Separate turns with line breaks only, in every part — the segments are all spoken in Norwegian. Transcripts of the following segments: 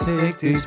Take these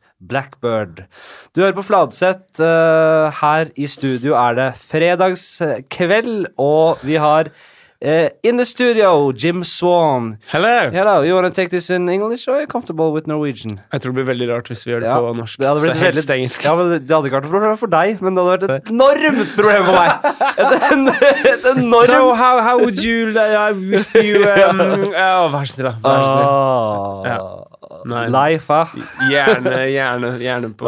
Blackbird. Du hører på Fladseth. eh, Her i studio er det fredagskveld, og vi har eh, in the studio, Jim Swan.
Hello!
Hello, you want to take this in English or are you comfortable with Norwegian?
Jeg tror det blir veldig rart hvis vi gjør det
Ja,
på norsk.
Det hadde,
så
blitt
helst
veldig,
engelsk.
ja, men det hadde ikke vært et problem for deg, men det hadde vært et enormt problem for meg. Et, en, et enormt
So how, how would you, uh, if you um, ja, Vær så snill, da. Vær så snill.
Ah,
Nei.
Life, ah.
Gjerne, gjerne, gjerne på,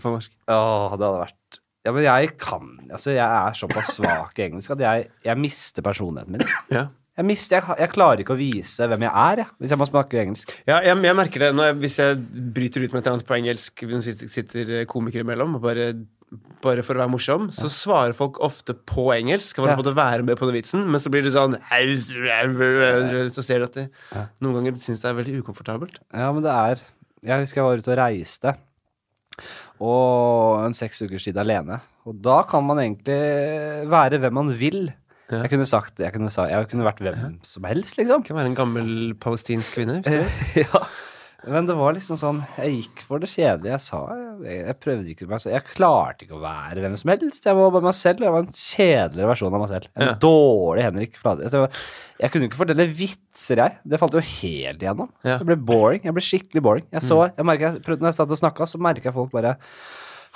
på norsk.
Åh, det hadde vært Ja, men jeg kan Altså, jeg er såpass svak i engelsk at jeg, jeg mister personligheten min.
Ja.
Jeg, mister, jeg, jeg klarer ikke å vise hvem jeg er, jeg, hvis jeg må snakke engelsk.
Ja, jeg, jeg merker det når jeg, hvis jeg bryter ut med et eller annet på engelsk hvis det sitter eh, komikere imellom, og bare, bare for å være morsom, så svarer folk ofte på engelsk. Skal
Ja.
bare måtte være med på den vitsen, men så blir det sånn Så ser du at de noen ganger syns det er veldig ukomfortabelt.
Ja, men det er Jeg husker jeg var ute og reiste, og en seks ukers tid alene. Og da kan man egentlig være hvem man vil. Jeg kunne sagt Jeg kunne, sa, jeg kunne vært hvem som helst, liksom.
Det kan være en gammel palestinsk kvinne. Hvis du-
ja. Men det var liksom sånn Jeg gikk for det kjedelige jeg sa. Jeg, jeg prøvde ikke meg selv. Jeg klarte ikke å være hvem som helst. Jeg var bare meg selv. og Jeg var en kjedeligere versjon av meg selv. En
Ja.
dårlig Henrik Flade. Altså, Jeg, kunne ikke fortelle vitser, jeg. Det falt jo helt igjennom.
Ja. Mm.
Jeg ble boring. Jeg ble skikkelig boring. Jeg så, jeg merket, jeg prøvde, når jeg satt og snakka, så merka jeg folk bare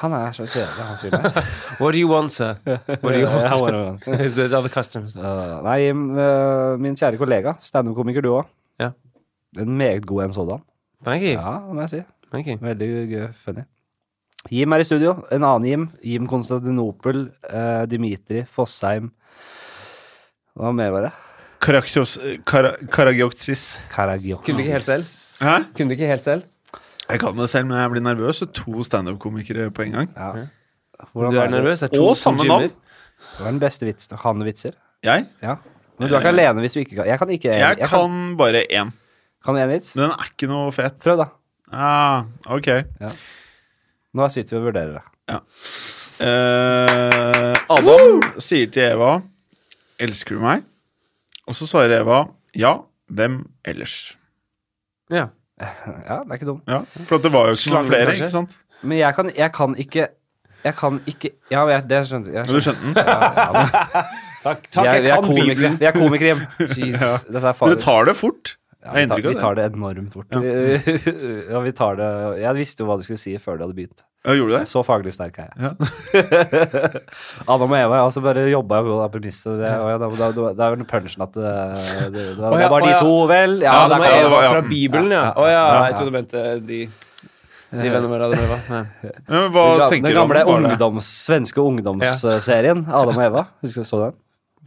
Han er så kjedelig, han fyren der.
What do you want, sir? What do you
Ja,
want?
bare-
Those are the customers.
Uh, Nei, Jim, uh, min kjære kollega, standup-komiker du òg.
Ja.
En meget god en sådan.
Thank you.
Ja, det må jeg si.
Thank you.
Veldig gøy, funny. Jim er i studio. En annen Jim. Jim Konstantinopel. eh, Dimitri Fossheim. Hva mer var det?
Karakios, eh, kara, Karagioktis.
Karagiokis.
Kunne du ikke helt selv?
Hæ?
Kunne du ikke helt selv?
Jeg kan det selv, men jeg blir nervøs. og To standup-komikere på en gang.
Ja.
Du
Hvordan
er
var det?
nervøs? Det er to,
Og
to
samme navn.
gymmer.
Det var den beste vitsen. Han-vitser.
Jeg?
Ja. Men du er
Eh.
ikke alene hvis du ikke kan Eh, Jeg kan ikke
Jeg
kan,
kan bare én.
kan en vits.
Den er ikke noe fet.
Prøv, da.
Ah, ok.
Nå sitter vi og vurderer det.
Eh, Adam sier til Eva 'Elsker du meg?' Og så svarer Eva 'Ja, hvem ellers?'
Ja.
Ja, det er ikke dumt.
Ja, For at det var jo ikke noen
Slangen,
flere,
kanskje?
ikke sant?
Men jeg kan, jeg kan ikke Jeg kan ikke Ja, jeg, det skjønte jeg.
Men du
Skjønte.
skjønte den?
Takk,
Vi
takk,
er,
jeg
vi er
kan
komikere.
Bibelen.
Vi er komikere, Jim. Jeez.
Ja.
Dette er
Men
farlig.
du tar det fort.
Ja,
Jeg
vi, tar,
har inntrykk av
vi tar det enormt fort. Ja. vi tar det Jeg visste jo hva du skulle si før du hadde begynt.
Ja, gjorde du det?
Så faglig sterk er jeg.
Ja.
Adam og Eva, jeg også bare jobba jo på det premisset. Det, og jeg- da- da- da- det er vel punchen at det, det, det, det,
Å ja,
var
å
de
ja.
to, vel? Ja,
Ja,
det
det
er
ja, det
var
var-
fra Bibelen, ja. Å ja, jeg trodde du mente de, de vennene våre hadde med. Nei.
Men hva
den,
tenker
den
du om
gamle
det?
ungdoms, svenske ungdomsserien Adam og Eva. Husker du så den?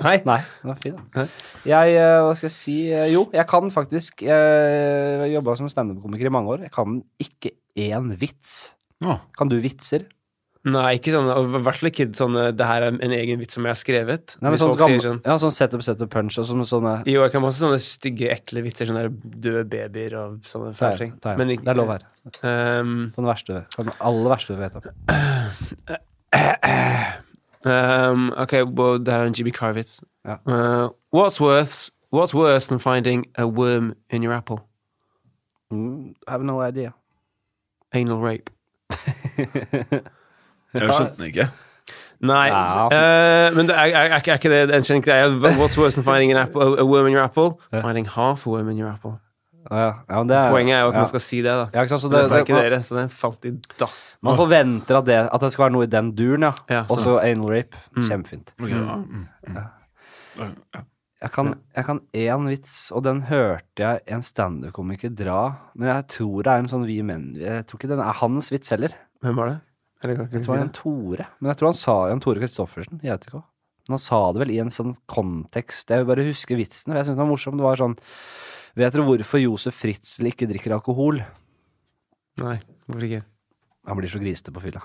Nei.
Nei, den var fin, da. Jeg, eh, hva skal jeg si Eh, Jo, jeg kan faktisk eh, Jeg jobba som standup-komiker i mange år. Jeg kan ikke én vits.
Å,
Kan du vitser?
Nei, ikke sånn, og i hvert fall ikke sånn Det her er en egen vits som jeg har skrevet.
Nei, men
hvis
sånn
folk
gamle,
sier sånn
ja, sånn setup, setup, punch og sånn, sånne
Jo, jeg kan masse sånne stygge, ekle vitser. Sånne der døde babyer og sånne
ta
fæle ting.
igjen, ta igjen.
Men
Det er lov her.
ehm,
På den verste, på den aller verste du vet om.
Um, okay, well, det her er en Jimmy Carr-vits.
Ja.
Uh, what's, worse- what's worse than finding a worm in your apple?
Mm, I have no idea.
Anal rape.
Jeg skjønte den ikke.
Nei,
Ja.
eh, men det er, er, er, ikke- er ikke det en kjent greie? What's worse than finding an apple, a worm in your apple? Finding half a worm in your apple.
Ja, ja, ja, men det er,
Poenget er jo at
ja.
man skal si det, da.
ja, ikke sant, så
Men
det,
det sa ikke
man,
dere, så den falt i dass.
man forventer at det, at det skal være noe i den duren, ja.
Ja,
og så anal rape. Kjempefint.
Ok, ja, mm, mm. Ja.
Jeg kan, jeg kan én vits, og den hørte jeg en standup-komiker dra. Men jeg tror det er en sånn vi menn Jeg tror ikke den er hans vits heller.
Hvem var det? Eller kan jeg ikke
Det
si
var en
det?
Tore. Men jeg tror han sa en Tore Kristoffersen. Jeg vet ikke hva. Men han sa det vel i en sånn kontekst. Jeg vil bare huske vitsen. for Jeg synes den var morsom. Det var sånn Vet dere hvorfor Josef Fritzl ikke drikker alkohol?
Nei, hvorfor ikke?
Han blir så grisete på fylla.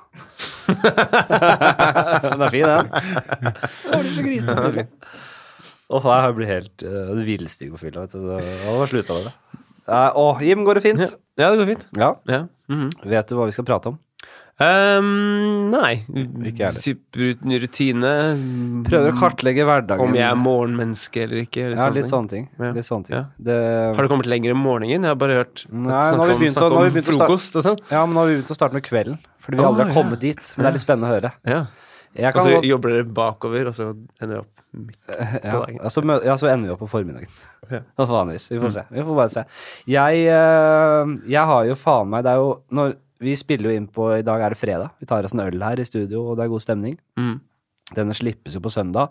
Den er fin, den. Å, du er så grisete på fylla. Åh, nei, jeg blir helt uh, villstig på fylla. vet du. Det- Jeg har slutta med det. Eh, Åh, Jim, går det fint?
Ja, det går fint.
Ja.
Ja. Mhm.
Vet du hva vi skal prate om?
Ehm, nei.
Ikke jeg heller.
Superuten rutine.
Prøver å kartlegge hverdagen.
Om jeg er morgenmenneske eller ikke. eller
Mm. ja,
sånne
litt sånn-
ting.
sånne ting.
Ja.
Litt sånne ting.
Ja.
Det,
Har du kommet lenger om morgenen? Jeg har bare hørt
Nei, nå har vi begynt å-
snakk
nå har
om
vi begynt å starte-
frokost og sånn.
ja, men nå har vi begynt å starte med kvelden. Fordi vi aldri har
Åh, ja. Altså,
kommet dit. Men det er litt spennende å høre.
Ja.
Jeg
Og
kan
så
godt-
jobber dere bakover, og så ender dere opp midt
ja,
på dagen.
ja, så, mø- ja, så ender vi opp på formiddagen. Ja. Vanligvis. Vi får se. Vi får bare se. Jeg, eh, jeg har jo faen meg Det er jo når Vi spiller jo inn på I dag er det fredag. Vi tar oss en øl her i studio, og det er god stemning.
Mm.
Denne slippes jo på søndag.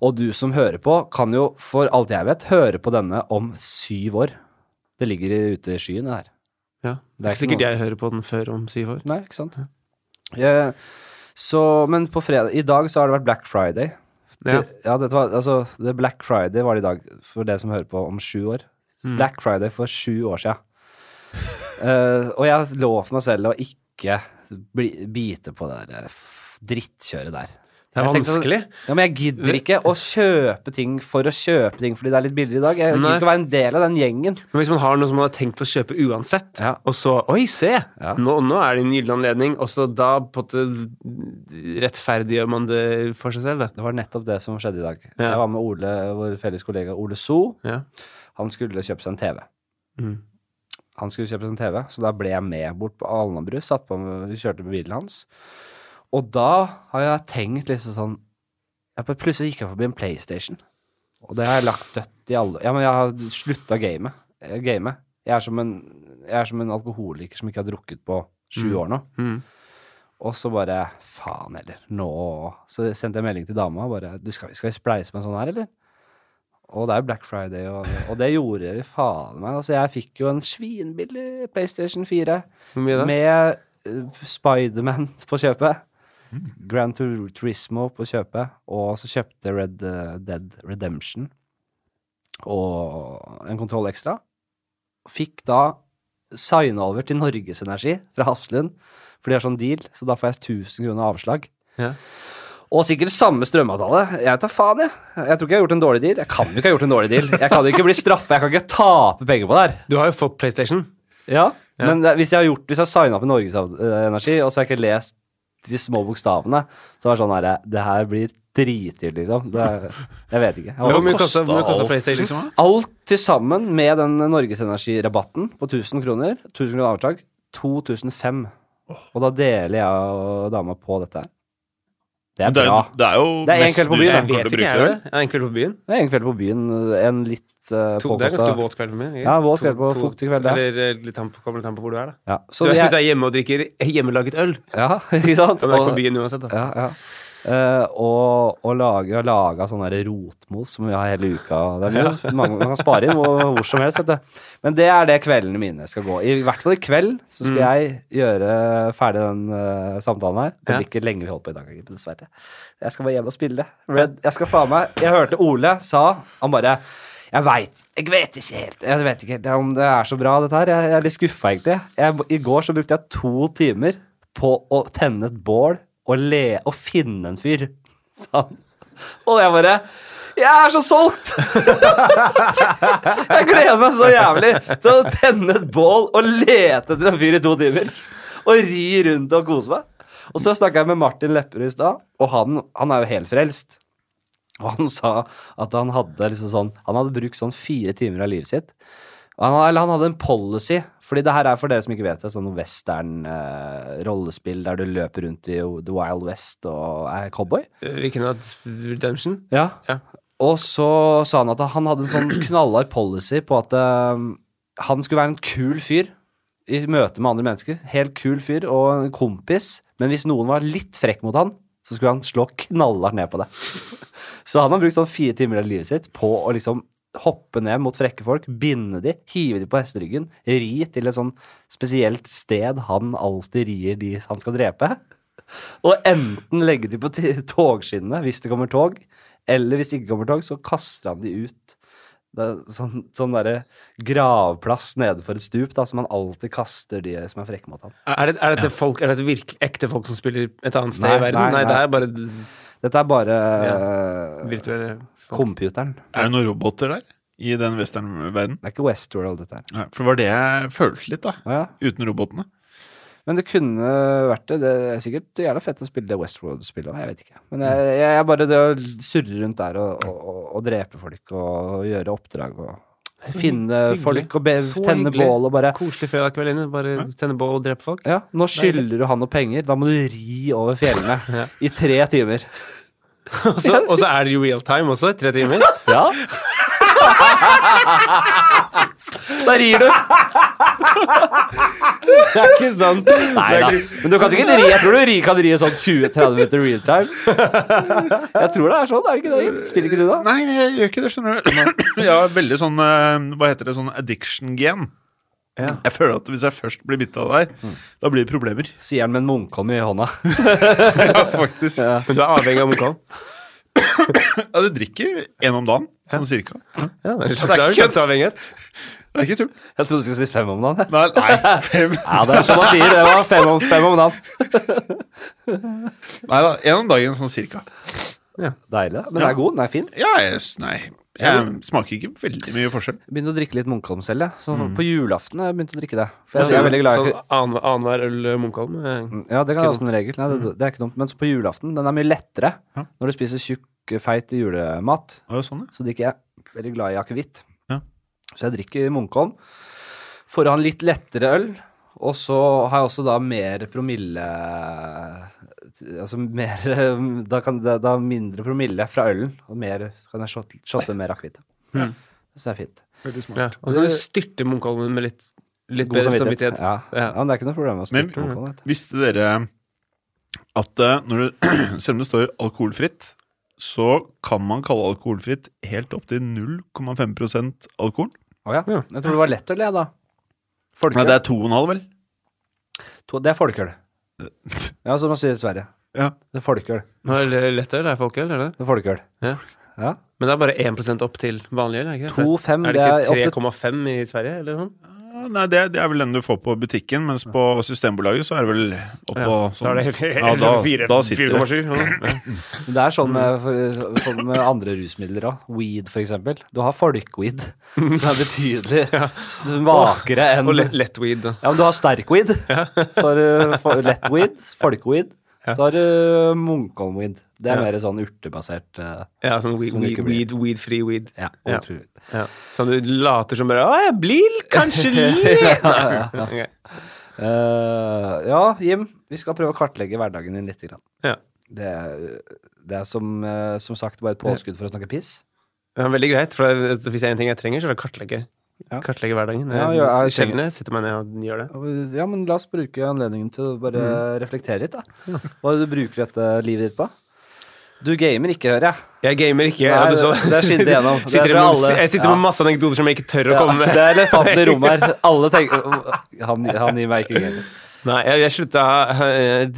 Og du som hører på, kan jo for alt jeg vet høre på denne om syv år. Det ligger i- ute i skyen, det her.
Ja.
Det
Det
er
er ikke
ikke
sikkert
noe-
jeg hører på den før om syv år.
Nei, ikke sant. Eh, så, men på fredag I dag så har det vært Black Friday.
Ja.
Til- ja dette var, altså, det Black Friday var det i dag, for det som hører på om sju år.
Mm.
Black Friday for sju år siden. Eh, og jeg lovte meg selv å ikke bli, bite på det der eh, f- drittkjøret der.
Det er
Jeg tenkte- sånn-
vanskelig.
ja, Men jeg gidder ikke å kjøpe ting for å kjøpe ting fordi det er litt billigere i dag. Jeg gidder
Nei.
ikke å være en del av den gjengen.
Men hvis man har noe som man har tenkt å kjøpe uansett,
Ja.
og så Oi, se!
Ja.
Nå, nå er det en gyllen anledning, og så da på en måte rettferdiggjør man det for seg selv, da.
Det var nettopp det som skjedde i dag.
Ja.
Jeg var med Ole, vår felles kollega Ole So.
Ja.
Han skulle kjøpe seg en TV.
Mhm.
Han skulle kjøpe seg en TV, så da ble jeg med bort på Alnabru. satt på med- Vi kjørte med bilen hans. Og da har jeg tenkt liksom sånn ja, men Plutselig gikk jeg forbi en PlayStation. Og det har jeg lagt dødt i alle Ja, men jeg har slutta game. eh, game. Jeg, er som en, jeg er som en alkoholiker som ikke har drukket på sju år nå.
Mhm.
Og så bare Faen heller. Nå Så sendte jeg melding til dama. Bare du, skal, vi- skal vi spleise på en sånn her, eller? Og det er jo Black Friday, og, og det gjorde vi faen meg. Altså, jeg fikk jo en svinbillig PlayStation 4
Hvor mye da?
med uh, Spiderman på kjøpet. Grand Tur Turismo på kjøpet. Og så kjøpte Red eh, Dead Redemption og en kontroll ekstra. Fikk da signa over til Norges Energi fra Hafslund, for de har sånn deal, så da får jeg 1000 kroner avslag.
Ja.
Og sikkert samme strømavtale. Jeg tar faen, jeg. Jeg tror ikke jeg har gjort en dårlig deal. Jeg kan jo ikke ha gjort en dårlig deal. Jeg kan jo ikke bli straffa. Jeg kan ikke tape penger på det her.
Du har jo fått PlayStation.
Ja, men det, hvis jeg har gjort Hvis jeg har signa på Norges eh, Energi, og så har jeg ikke lest de små bokstavene, så er det sånn her Det her blir dritdyrt, liksom. Det, jeg vet ikke. Jeg
Hvor
var,
mye kosta
Kostet alt,
PlayStation?
liksom, da?
alt til sammen med den Norges Energi-rabatten på 1000 kroner, 1000 kroner avslag, 2005. Og da deler jeg og dama på dette her. Det er
Det er,
bra.
det er jo
Det er en
mest
kveld på
du
byen,
kommer
Jeg
til å
vet ikke,
bruke
jeg er
det.
det. Jeg er en kveld på byen.
Det er en kveld på byen, en litt uh,
To, det er ganske
påkosta
våt kveld på byen. ikke?
Ja, våt kveld på
To- to-
fuktig kveld, ja.
Eller eh, litt an på- kommer litt an på hvor du er, da.
ja,
Så
så
hvis du
jeg,
er hjemme og drikker hjemmelaget øl,
ja, ikke sant?
så er du
Og-
på byen uansett. Da.
Ja, ja. Eh, og og lage, laga sånn der rotmos som vi har hele uka. Det er mye, mange, man kan spare inn hvor, hvor som helst, vet du. Men det er det kveldene mine skal gå. I hvert fall i kveld så skal jeg gjøre ferdig den eh, samtalen her. Det
Ja.
blir ikke lenge vi holder på i dag, dessverre. Jeg skal bare hjem og spille. Red, jeg skal faen meg Jeg hørte Ole sa Han bare jeg veit Jeg vet ikke helt Jeg vet ikke helt om det er så bra, dette her. Jeg, jeg er litt skuffa, egentlig. Jeg, I går så brukte jeg to timer på å tenne et bål og le og finne en fyr. Sa han. Og jeg bare Jeg er så solgt! jeg gleder meg så jævlig til å tenne et bål og lete etter en fyr i to timer. Og ri rundt og kose meg. Og så snakka jeg med Martin Lepperød i stad, og han, han er jo helt frelst. Og han sa at han hadde liksom sånn Han hadde brukt sånn fire timer av livet sitt. Og Han, eller han hadde en policy, fordi det her er for dere som ikke vet det, sånn western-rollespill der du løper rundt i The Wild West og er cowboy.
Hvilken av Redemption?
Ja.
Ja.
Og så sa han at han hadde en sånn knallhard policy på at eh, han skulle være en kul fyr i møte med andre mennesker. Helt kul fyr og en kompis. Men hvis noen var litt frekk mot han, så skulle han slå knallhardt ned på det. Så han har brukt sånn fire timer av livet sitt på å liksom hoppe ned mot frekke folk, binde de, hive de på hesteryggen, ri til et sånn spesielt sted han alltid rir de han skal drepe. Og enten legge de på t- togskinnene hvis det kommer tog, eller hvis det ikke kommer tog, så kaster han de ut Det er sånn sånn derre gravplass nede for et stup, da, som han alltid kaster de som er frekke mot ham.
Er, det, er dette folk, er dette virkelig ekte folk som spiller et annet sted
Nei,
i verden?
nei,
Nei, det
nei.
er bare
Dette er bare eh,
virtuelle folk.
computeren.
Er det noen roboter der? I den westernverdenen?
Det er ikke Westworld, dette her.
Ja, for det var det jeg følte litt, da.
Å ja.
Uten robotene.
Men det kunne vært det. Det er sikkert jævla fett å spille det Westworld-spillet òg, jeg vet ikke. Men jeg, jeg er bare det å surre rundt der og, og, og, og drepe folk og gjøre oppdrag og finne
hyggelig.
folk og be,
Så
tenne
hyggelig.
bål og bare
Koselig fredagskveld inne. Bare tenne bål og drepe folk.
ja, nå skylder du han noe penger, da må du ri over fjellene i tre timer.
Og så og så er det jo real time også, i tre timer.
Ja. Da rir du.
Det er ikke sant.
Nei da. Men du kan sikkert ri. Jeg tror du ri, kan ri sånn 20-30 minutter real time. Jeg tror det er sånn, er det ikke det? Jim? Spiller ikke du da?
Nei, jeg gjør ikke det, skjønner du. Jeg har veldig sånn eh, Hva heter det? Sånn addiction-gen.
Ja.
Jeg føler at hvis jeg først blir bitt av det her,
Mm.
da blir det problemer.
Sier han med en munkholm i hånda.
Ja, faktisk. Ja,
Men du er avhengig av Munkholm.
det drikker én om dagen, sånn cirka.
Ja, det er en
Det er
slags
ikke
kjønnsavhengighet.
Det er ikke tull.
Jeg trodde du skulle si fem om dagen. jeg.
Nei, nei, fem.
Ja, det er som han sier. Det var fem om, fem om dagen.
nei da, én om dagen, sånn cirka.
Deilig. da. Men den er god. Den er fin.
Ja, jeg, s- nei. Jeg smaker ikke veldig mye forskjell.
Begynte å drikke litt munkholm selv, jeg. Så på julaften har jeg begynte å drikke det. For jeg, jeg er veldig glad i
Sånn annen- annenhver øl eh, Munkholm. eh,
Ja, det kan være også en regel. Nei,
Mm.
det, det er ikke dumt. Men så på julaften, den er mye lettere når du spiser tjukk, feit julemat.
Det var jo sånn, ja.
så drikker jeg veldig glad i akevitt.
Ja.
Så jeg drikker Munkholm. Får han litt lettere øl, og så har jeg også da mer promille Altså mer Da, kan, da, da mindre promille fra ølen, og mer, så kan jeg shotte, shotte mer akevitt. Så det er fint.
Ja. Og så kan du styrte Munkholmen med litt, litt
God
bedre
samvittighet.
samvittighet.
Ja.
Ja.
ja, men det er ikke noe problem å
Men-
spille Munkholm. vet du.
Visste dere at eh, når du, selv om det står alkoholfritt, så kan man kalle alkoholfritt helt opp til 0,5 alkohol?
Å ja. Jeg tror det var lettøl, jeg, da.
Nei,
Folkeøl.
det er 2,5, vel?
To- det er folkeøl.
Eh.
Ja, som man sier i Sverige.
Ja.
Det er folkeøl.
Nå er det lettøl, er folkeøl, er det?
Det er folkeøl.
Ja.
Ja.
Men det er bare 1 opp til vanlig øl? Er det ikke det?
2,5,
er
det
det
er opp til
ikke 3,5 i Sverige? eller sånn?
Nei, det, det er vel den du får på butikken, mens på Systembolaget så er det vel oppå
Ja,
sånn Ja, da, da sitter det.
Det er sånn
Mm.
med, for, sånn med andre rusmidler òg. Weed, for eksempel. Du har folkweed, som er betydelig svakere enn
Mm. Og lett, lett weed. da.
Ja, men du har sterkweed. Så har du fo- lettweed, folkeweed. Så har du munkholmweed. Det er mer sånn urtebasert eh,
Ja, sånn weed,
Som det
weed,
ikke blir.
wead, weed, free weed.
Ja.
Ja.
utrolig.
Ja. Som du later som bare Å, jeg blir kanskje litt Nei. Ok.
Eh, ja, Jim, vi skal prøve å kartlegge hverdagen din litt. Grann.
Ja.
Det, er- det er som, eh, som sagt bare et påskudd for å snakke piss.
Ja, veldig greit, for hvis det er en ting jeg trenger, så er det å kartlegge.
Ja.
Kartlegge hverdagen.
Ja,
Jeg-
ja, jeg
Sjelden jeg setter meg ned og gjør det.
Ja, men la oss bruke anledningen til å bare
Mm.
reflektere litt, da. Hva er det du bruker dette livet ditt på? Du gamer ikke, hører jeg.
Jeg gamer ikke.
Nei,
ja, du så.
det- det skinner igjennom. Det
sitter
tror
med,
alle-
jeg sitter
ja.
med masse anekdoter som jeg ikke tør å komme med.
det er elefanten i rommet her. Alle tenker Han, han gir meg ikke gamer.
Nei, jeg, jeg slutta eh,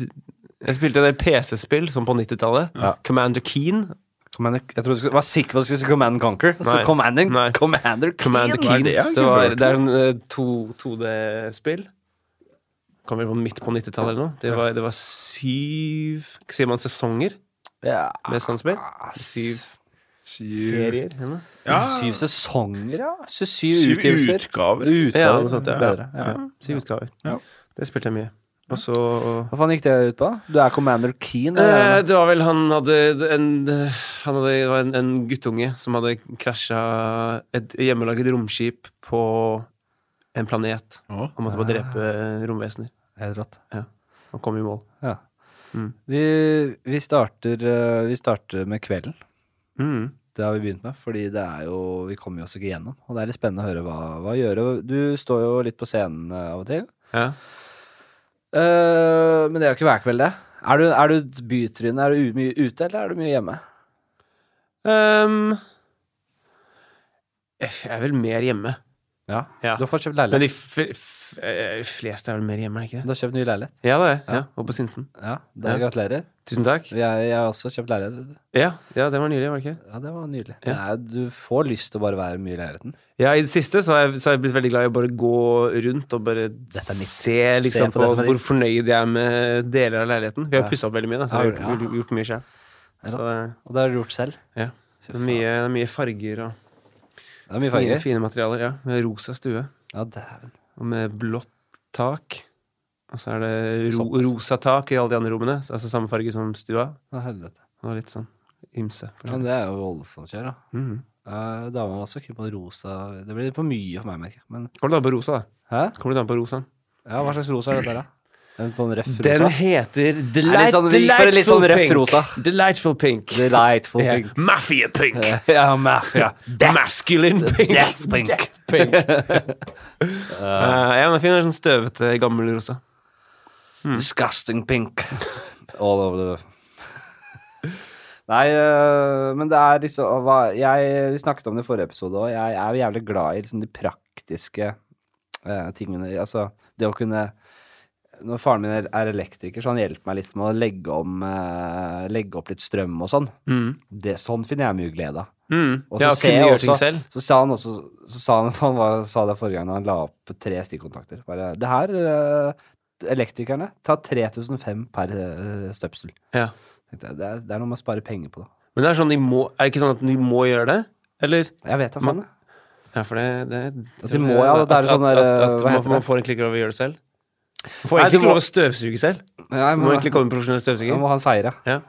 Jeg spilte en del PC-spill, som på 90-tallet.
Ja.
Commander Keen.
Command, jeg trodde du skulle, var sikker på at du skulle si Command and Conquer. Så
Nei.
Commander,
Nei.
Commander Keen.
Commander Keen.
det?
Det,
Jeg har ikke
var,
hørt
det er en eh, to- 2D-spill. Kom vi på midt på 90-tallet eller noe? Det var, det var syv Sier man sesonger
Ja.
med sånt spill?
Ah,
Syv
Syv,
serier? eller noe?
Ja,
syv sesonger, ja. Syv,
syv
utgivelser.
utgaver.
Utgaver,
Ja, noe sånt, ja.
bedre. Ja.
Syv utgaver.
Ja.
Det spilte jeg mye. Og så
Hva faen gikk det ut på? Du er Commander Keen?
Eh,
eller?
det var vel han hadde en, han hadde, det var en, en guttunge som hadde krasja et hjemmelaget romskip på en planet.
Å,
Han måtte bare drepe romvesener.
Helt rått.
Han kom i mål.
Ja.
Mm.
Vi, vi, starter, eh, vi starter med kvelden.
Mm.
Det har vi begynt med, fordi det er jo, vi kommer jo oss ikke gjennom. Og det er litt spennende å høre hva, hva gjøre. Du står jo litt på scenen eh, av og til.
Ja.
Eh, men det er jo ikke hver kveld, det. Er du, er du et bytryne? Er du u- mye ute, eller er du mye hjemme?
Ehm, jeg er vel mer hjemme.
Ja.
Ja.
Du har fått kjøpt
Men
leilighet.
de f f eh, fleste er vel mer hjemme, er det ikke
Du
det?
har kjøpt ny leilighet.
Ja, det er det. Ja. Og på Sinsen.
Ja, da Gratulerer.
Tusen takk.
Jeg, jeg har også kjøpt leilighet. vet du.
Ja, ja, det var nylig, var det ikke?
Ja, det var nydelig.
Ja.
Nei, du får lyst til å bare være mye i leiligheten.
Ja, i det siste så har jeg, så har jeg blitt veldig glad i å bare gå rundt og bare
Dette er mitt.
se liksom
Se på
på,
det som er
hvor
ditt.
fornøyd jeg er med deler av leiligheten. Vi har
Ja.
jo pussa opp veldig mye, da, så
Ja,
vi har
ja.
gjort, gjort mye sjøl. Så
Og det har du gjort selv.
eh, ja.
Fy
Det er
faen.
mye, det er mye farger og
Det er mye
fine,
farger.
fine materialer. Ja. Med rosa stue
Ja, dæven.
og med blått tak. Og så er det ro,
Såpass.
rosa tak i alle de andre rommene. så- Altså samme farge som stua.
Å, helvete.
Og litt sånn ymse.
Ja, men det er jo voldsomt kjør, da.
Mhm.
Eh, Dama var også keen på rosa Det blir for mye for meg, merker jeg. Men
Kommer du da på rosa, da?
hæ?
Kommer du da på rosa?
Ja, hva slags rosa er dette, her, da? En sånn røff
Den
rosa?
heter
Er
Delight,
litt sånn- vi gikk for en litt
Delightful
sånn røff
Pink.
rosa.
Delightful Pink.
Delightful
Ja.
pink.
Mafia Pink.
ja, mafia.
Masculine Pink.
Death pink.
pink. Eh, ja, men den er fin. Sånn støvete, gammel rosa.
Disgusting pink. All over the Nei, øh, men det er liksom øh, hva- jeg, Vi snakket om det i forrige episode òg. Jeg er jo jævlig glad i liksom, de praktiske øh, tingene. Altså det å kunne Når faren min er, er elektriker, så han hjelper meg litt med å legge om øh, Legge opp litt strøm og sånn. Det, sånn finner jeg mye glede av.
Mm.
Og så
Ja,
ser
kunne
jeg
gjøre ting
også-
selv.
Så sa han også så sa han, han var, sa det forrige gang da han la opp tre stikkontakter. Bare, det her, eh, elektrikerne, tar 3005 per eh, støpsel.
Ja.
Tenkte jeg, Det er, det er noe med å spare penger på, da.
Men det er sånn de må Er det ikke sånn at de må gjøre det? Eller?
Jeg vet da faen. jeg.
Ja, for det, det
At de må, ja, det er
At-
sånn
at-
der,
at- at
hva
man-
heter det?
Man får egentlig ikke lov å gjøre det selv. Man får
Nei,
egentlig
du
ikke
må-
lov å støvsuge selv.
Nei,
Du
men-
må egentlig komme en profesjonell
Nå
støvsuger.
må han feire.
Ja.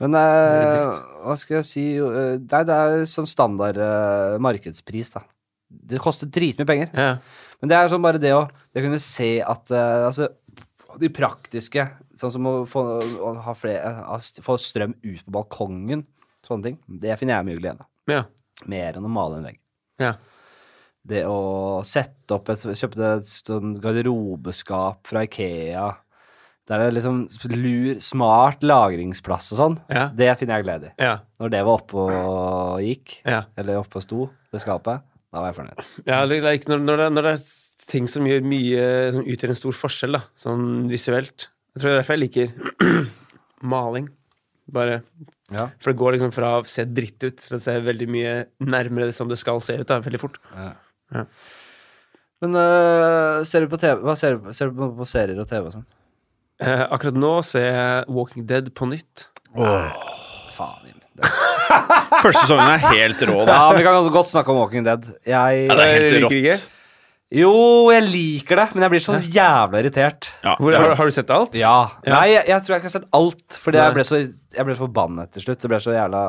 Men eh,
Det er litt
hva skal jeg si jo, eh, Nei, det er sånn standard eh, markedspris, da. Det koster dritmye penger.
Ja.
Men det er sånn bare det å det å kunne se at eh, Altså, de praktiske Sånn som å få, å ha fle- ha st- få strøm ut på balkongen, sånne ting. Det finner jeg mye glede av.
Ja.
Mer enn å male en vegg.
ja.
Det å sette opp et Kjøpte et sånn garderobeskap fra Ikea. Der det er liksom lur, smart lagringsplass og sånn.
Ja.
Det finner jeg glede i.
Ja.
Når det var oppe og gikk,
Ja.
eller oppe og sto, det skapet, da var jeg fornøyd.
Ja, eller like, når, når, det, når det er s- ting som gjør mye Som utgjør en stor forskjell, da, sånn visuelt. Jeg tror det er derfor jeg liker maling. Bare,
Ja.
for det går liksom fra å se dritt ut til å se veldig mye nærmere det som det skal se ut. Da, veldig fort. Ja.
Men øh, ser du på TV Hva ser du på? Ser du på, på serier og TV og sånn?
Eh, akkurat nå ser jeg Walking Dead på nytt.
Faen Jim. Det-
Første sesongen er helt rå, da.
Ja, vi kan godt snakke om Walking Dead.
Ja, det
Jeg
er helt
Jeg
rått.
liker ikke.
Jo, jeg liker det, men jeg blir så jævla irritert.
Ja.
Hvor, har, har du sett alt?
Ja. Nei, jeg, jeg tror jeg ikke har sett alt, fordi
Nei.
jeg ble, så, jeg ble så forbanna til slutt. Det ble så jævla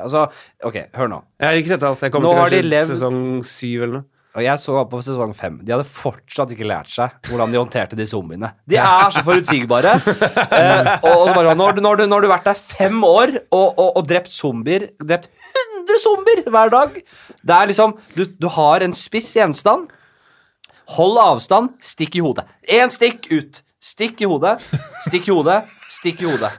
Altså, OK, hør nå.
Jeg har ikke sett alt. Jeg kom
Nå
til
har de
kanskje
levd-
sesong syv eller noe.
Og jeg så på sesong fem. De hadde fortsatt ikke lært seg hvordan de håndterte de zombiene. De er så forutsigbare. Eh, og og så bare, når, du- når, du- når du har vært der fem år og, og, og drept zombier Drept 100 zombier hver dag Det er liksom Du, du har en spiss gjenstand. Hold avstand, stikk i hodet. Én stikk ut. Stikk i hodet, stikk i hodet, stikk i hodet.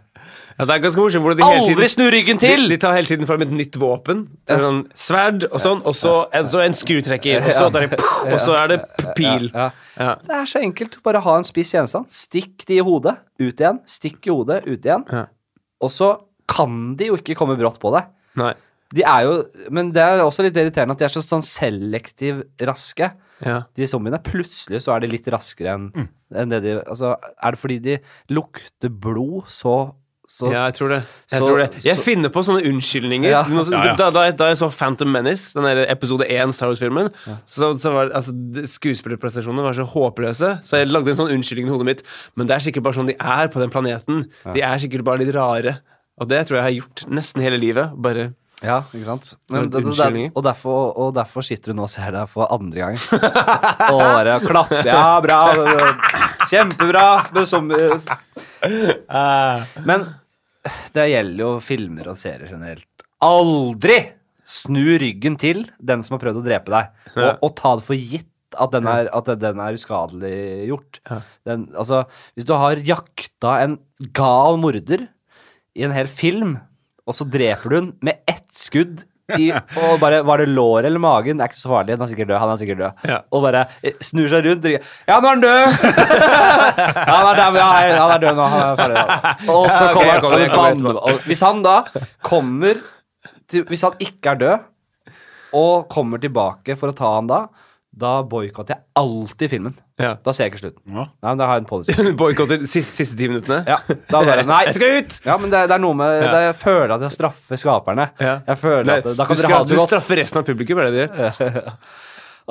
Ja, det er ganske morsomt hvordan de hele
Aldri
tiden
snu ryggen
de,
til!
de tar hele tiden fram et nytt våpen. Sånn sverd og sånn, og så en, så en skrutrekker, og så, tar de, og så er det pil.
Ja.
Ja.
Det er så enkelt. Bare ha en spiss gjenstand. Stikk de i hodet, ut igjen. Stikk i hodet, ut igjen.
Ja.
Og så kan de jo ikke komme brått på deg.
Nei.
De er jo, men det er også litt irriterende at de er så sånn selektiv raske,
Ja.
de zombiene. Plutselig så er de litt raskere enn enn det de Altså, er det fordi de lukter blod så, så
ja, jeg tror det. Jeg,
så-
tror det. jeg
så-
finner på sånne unnskyldninger.
Ja.
Noe sånt-
Ja, ja.
Da, da, jeg- da jeg så Phantom Menace, den der episode 1 Star Wars-filmen, så, så var altså, d- skuespillerprestasjonene var så håpløse, så jeg lagde en sånn unnskyldning i hodet mitt. Men det er sikkert bare sånn de er på den planeten. De er sikkert bare litt rare. Og det tror jeg jeg har gjort nesten hele livet. Bare
Ja, ikke sant? Men,
Litt
det, det, det,
unnskyldninger.
og, derfor, og derfor sitter du nå og ser deg for andre gang. og bare klapper. Ja, bra. Kjempebra. Men, som, men det gjelder jo filmer og serier generelt. Aldri snu ryggen til den som har prøvd å drepe deg, og, og ta det for gitt. At den er, at den er uskadelig gjort. Den, altså, hvis du har jakta en gal morder i en hel film, og så dreper du den med ett skudd i, og bare Var det lår eller magen? Det er ikke så farlig. Han er sikkert død. Han er sikkert død.
Ja.
Og bare eh, snur seg rundt. drikker, Ja, nå er han død! ja, han, er død ja, han er død nå. Han er ferdig. nå. Og så
Ja, ok,
kommer
jeg kommer, jeg kommer
han og Hvis han da kommer til, Hvis han ikke er død, og kommer tilbake for å ta han da, da boikotter jeg alltid filmen.
Ja.
Da ser jeg ikke slutten.
Ja.
Nei, men da har jeg en policy.
Boikotter siste, siste ti minuttene?
Ja, da bare, nei.
Jeg skal ut!
Ja, men det, det er noe med det, Jeg føler at jeg straffer skaperne.
Ja.
Jeg føler
Nei,
at det, Da kan
du,
dere ha
skal,
det
du
godt.
straffer resten av publikum, er det det du gjør?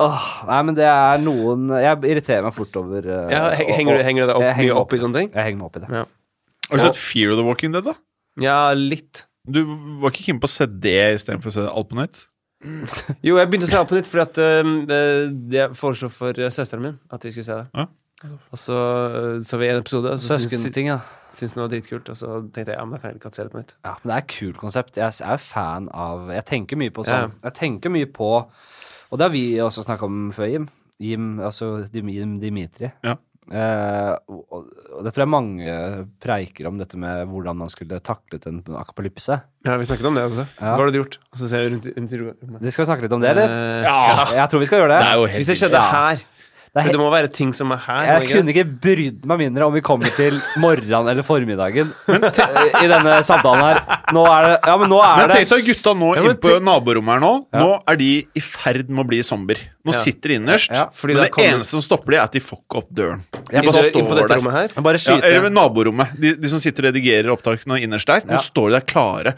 Åh, nei, men det er noen Jeg irriterer meg fort over eh,
Ja,
og-
he- henger, du, henger du deg
Jeg
opp,
henger
mye
meg
opp i sånne ting?
Jeg henger meg opp i det.
Ja.
Har du sett Fear of the Walking Dead, da?
ja, litt.
Du var ikke keen på å se det istedenfor å se alt på nytt?
Jo, jeg begynte å se alt på nytt fordi at øhm, øh, jeg foreslo for øh, søsteren min at vi skulle se det.
Ja.
Og så øh, så vi en episode, og så syntes
Søskenting, ja.
syntes hun det var dritkult. Og så tenkte jeg ja, men da kan jeg ikke se det på nytt.
ja. Men det er et kult konsept. Jeg er jo fan av Jeg tenker mye på
Ja.
sånn. Jeg tenker mye på Og det har vi også snakka om før, Jim. Jim, altså Dim- Jim Dimitri.
Ja.
Eh, og, og- og det tror jeg mange preiker om, dette med hvordan man skulle taklet en akapalypse.
Ja, Vi snakket om det også.
Ja.
Hva har du gjort? Og så ser jeg rundt, i- rundt i rommet.
Det skal vi snakke litt om det, eller?
Eh,
Jeg tror vi skal gjøre det.
jo
Hvis det skjedde
Ja.
her
Det er he-
for Det må være ting som er her. må
Jeg
det ikke
kunne ikke brydd meg mindre om vi kommer til morgenen eller formiddagen i denne samtalen her. Nå er det Ja, men nå er
Men
det
tenk deg gutta nå
Ja, men
inne på naborommet her nå. Nå er de i ferd med å bli zombier.
Ja.
Nå sitter de innerst.
Ja,
fordi
men
da
det
kommer-
eneste som stopper de, er at de får ikke opp døren. De
det?
bare
Inn på- inn på
står
dette
der.
rommet her?
Bare
Ja, eller ved
skyte.
naborommet. De, de som sitter og redigerer opptakene innerst der.
Ja.
Nå står de der klare.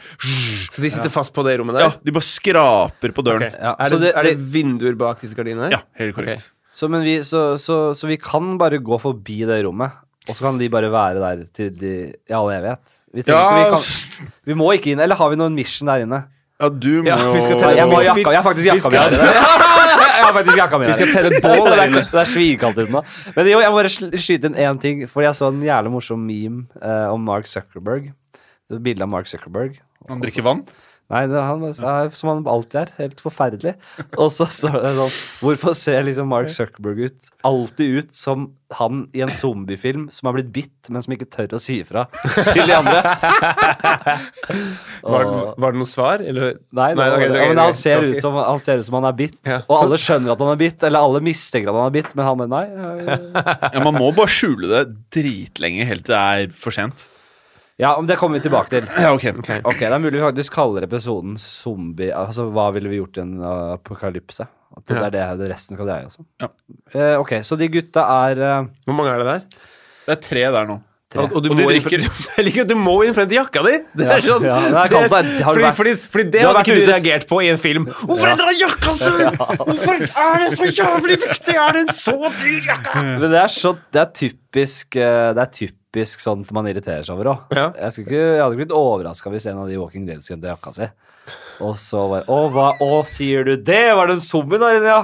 Så de sitter fast på det rommet der?
Ja, de bare skraper på døren.
Ok.
Ja,
Er,
så
det,
det-
er det
det-
vinduer bak disse gardinene? her?
Ja, helt korrekt.
Så, men vi, så, så, så vi kan bare gå forbi det rommet, og så kan de bare være der til de, i all evighet. Vi, trenger ikke- vi,
Ja,
kan, vi må ikke inn. Eller har vi noen mission der inne?
ja, du må
Ja,
jo
vi skal
Nei, Jeg, må ha jakka,
vi-
jeg har faktisk
vi
jakka mi.
skal-
her. Jeg har faktisk jakka mi. Vi skal tenne
bål der inne.
Det er svinkaldt ute nå. Men jo, jeg må bare sl- skyte inn én ting, Fordi jeg så en jævlig morsom meme eh, om Mark Zuckerberg. Det er et bilde av Mark Zuckerberg.
Han drikker vann.
Nei, det, han var- er som han alltid er. Helt forferdelig. Og så står det sånn Hvorfor ser liksom Mark Zuckerberg ut alltid ut som han i en zombiefilm som har blitt bitt, men som ikke tør å si ifra til de andre?
Var,
Og-
var det noe svar? Eller?
Nei, det,
ok,
var-
ok,
ja, men
ok,
han ser,
ok.
Ut som, han ser ut som han er bitt,
Ja,
og
så-
alle skjønner at han er bitt, eller alle mistenker at han er bitt, men han bare nei. øh.
Ja, man må bare skjule det dritlenge helt til det er for sent.
Ja, men det kommer vi tilbake til.
Ja, ok.
Ok, Det er mulig vi faktisk kaller episoden zombie Altså, hva ville vi gjort i en uh, apokalypse? At det er det det resten skal dreie oss om.
Ja.
Eh, ok, så de gutta er eh,
Hvor mange er det der?
Det er tre der nå.
Og, og du
Og de
må inn-
drikker.
Jeg liker at du må inn frem til jakka di! Det
Ja,
er sånn
ja, det er kaldt, det er- har du
fordi,
vært-
fordi, fordi
du
det
har
hadde
vært
ikke du
ute-
reagert på i en film. Hvorfor er det jakka sur?! Hvorfor er det så jævlig viktig?! Er det en så dyr jakke?!
Men det er, så, det er typisk eh, Det er typisk sånt man irriterer seg over òg.
Ja.
Jeg, skulle ikke- jeg hadde ikke blitt overraska hvis en av de Walking Dead skulle hente jakka si. Og så bare Å, hva å, sier du det? Var det en zombie der inne, ja?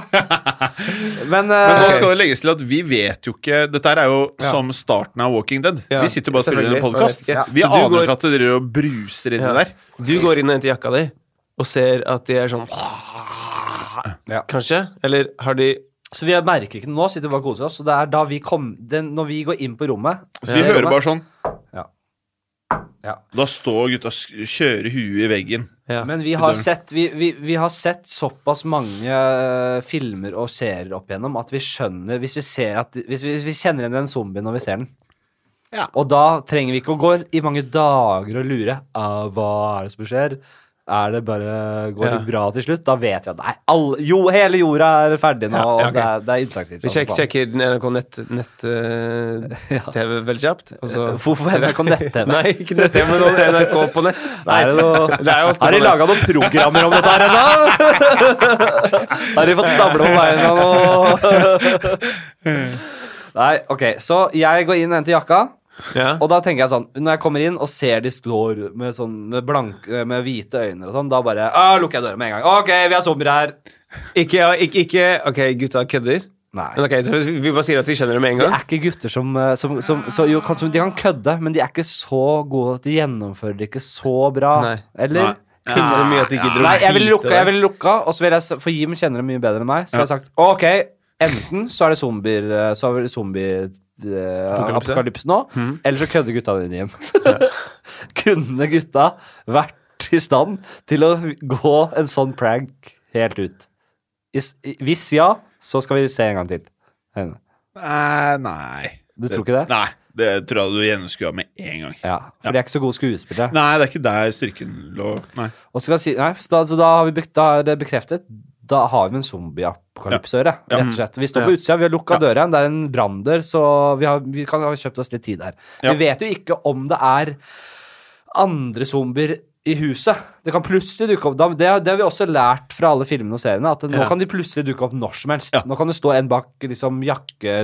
Men, eh,
Men nå skal det legges til at vi vet jo ikke Dette her er jo som starten av Walking Dead.
Ja,
Vi sitter jo bare og spiller inn en
selvfølgelig.
podkast.
Ja.
Vi
Så du
aner
går-
ikke at det driver og bruser inni
Ja.
der.
Du går inn og henter jakka di, og ser at de er sånn
Ja.
Kanskje? Eller har de
Så vi merker ikke det nå, sitter vi bare og koser oss. Og det er da vi kom, den, når vi går inn på rommet
Så vi hører bare sånn.
Ja. Ja.
Da står gutta og sk- kjører huet i veggen.
ja.
Men vi har, sett, vi, vi, vi har sett såpass mange eh, filmer og serier opp igjennom at vi skjønner Hvis vi, ser at, hvis vi, hvis vi kjenner igjen den zombien når vi ser den. Og da trenger vi ikke å gå i mange dager og lure. «Ah, hva er det som skjer? Er det bare, Går det
Ja.
bra til slutt? Da vet vi at nei, alle, jo, hele jorda er ferdig nå,
Ja, ja,
og det er, det er innslagstid.
Vi sjek,
sånn,
sjekker NRK nett-TV nett, eh,
Ja.
TV veldig kjapt, og så
faen. Hvorfor er NRK nett-TV?
Nei, ikke nett-TV, men NRK på nett. Nei.
Er det noe,
Det er jo alltid
har de
på nett.
laga noen programmer om dette her ennå? har de fått stable på veien av noe? Nei, ok. Så jeg går inn og henter jakka.
Ja.
Og da tenker jeg sånn Når jeg kommer inn og ser de står med, sånn, med, blank, med hvite øyne og sånn, da bare «Ah, lukker jeg døra med en gang. Ok, vi er zombier her.
Ikke, ja, ikke, ikke Ok, gutta kødder?
Nei.
Men ok, så Vi bare sier at vi skjønner det med en
Det
gang?
er ikke gutter som, eh, som, som, så jo, kan, som De kan kødde, men de er ikke så gode. De gjennomfører det ikke så bra.
Nei.
Eller?
Nei.
Kunne så mye at de gidder å
Nei, jeg ville
bite
lukka, jeg ville lukka og så ville jeg, s- for Jim kjenner det mye bedre enn meg, så har jeg sagt OK, enten så er det zombier eh, Så er det zombie... eh,
Apokalypse.
Apokalypse nå, eller så kødder gutta dine, Jim. Kunne gutta vært vært i stand til å gå en sånn prank helt ut? Is- Hvis ja, så skal vi se en gang til. Henne.
Eh, nei.
Du tror ikke det?
Nei, det tror jeg du gjennomskua med en gang.
Ja, for de er ikke så gode skuespillere.
Nei, det er ikke der styrken lå. Nei.
Og så kan jeg si, nei, så da, så da har vi bek- da er det bekreftet. Da har vi en zombie-apokalypse å gjøre. Rett og slett. Vi står på utsida, vi har lukka døra. Det er en branndør, så vi, har, vi kan ha kjøpt oss litt tid der.
Ja.
Vi vet jo ikke om det er andre zombier i huset. Det kan plutselig dukke opp da- Det, det har vi også lært fra alle filmene og seriene, at nå
Ja.
kan de plutselig dukke opp når som helst. Nå kan det stå en bak liksom,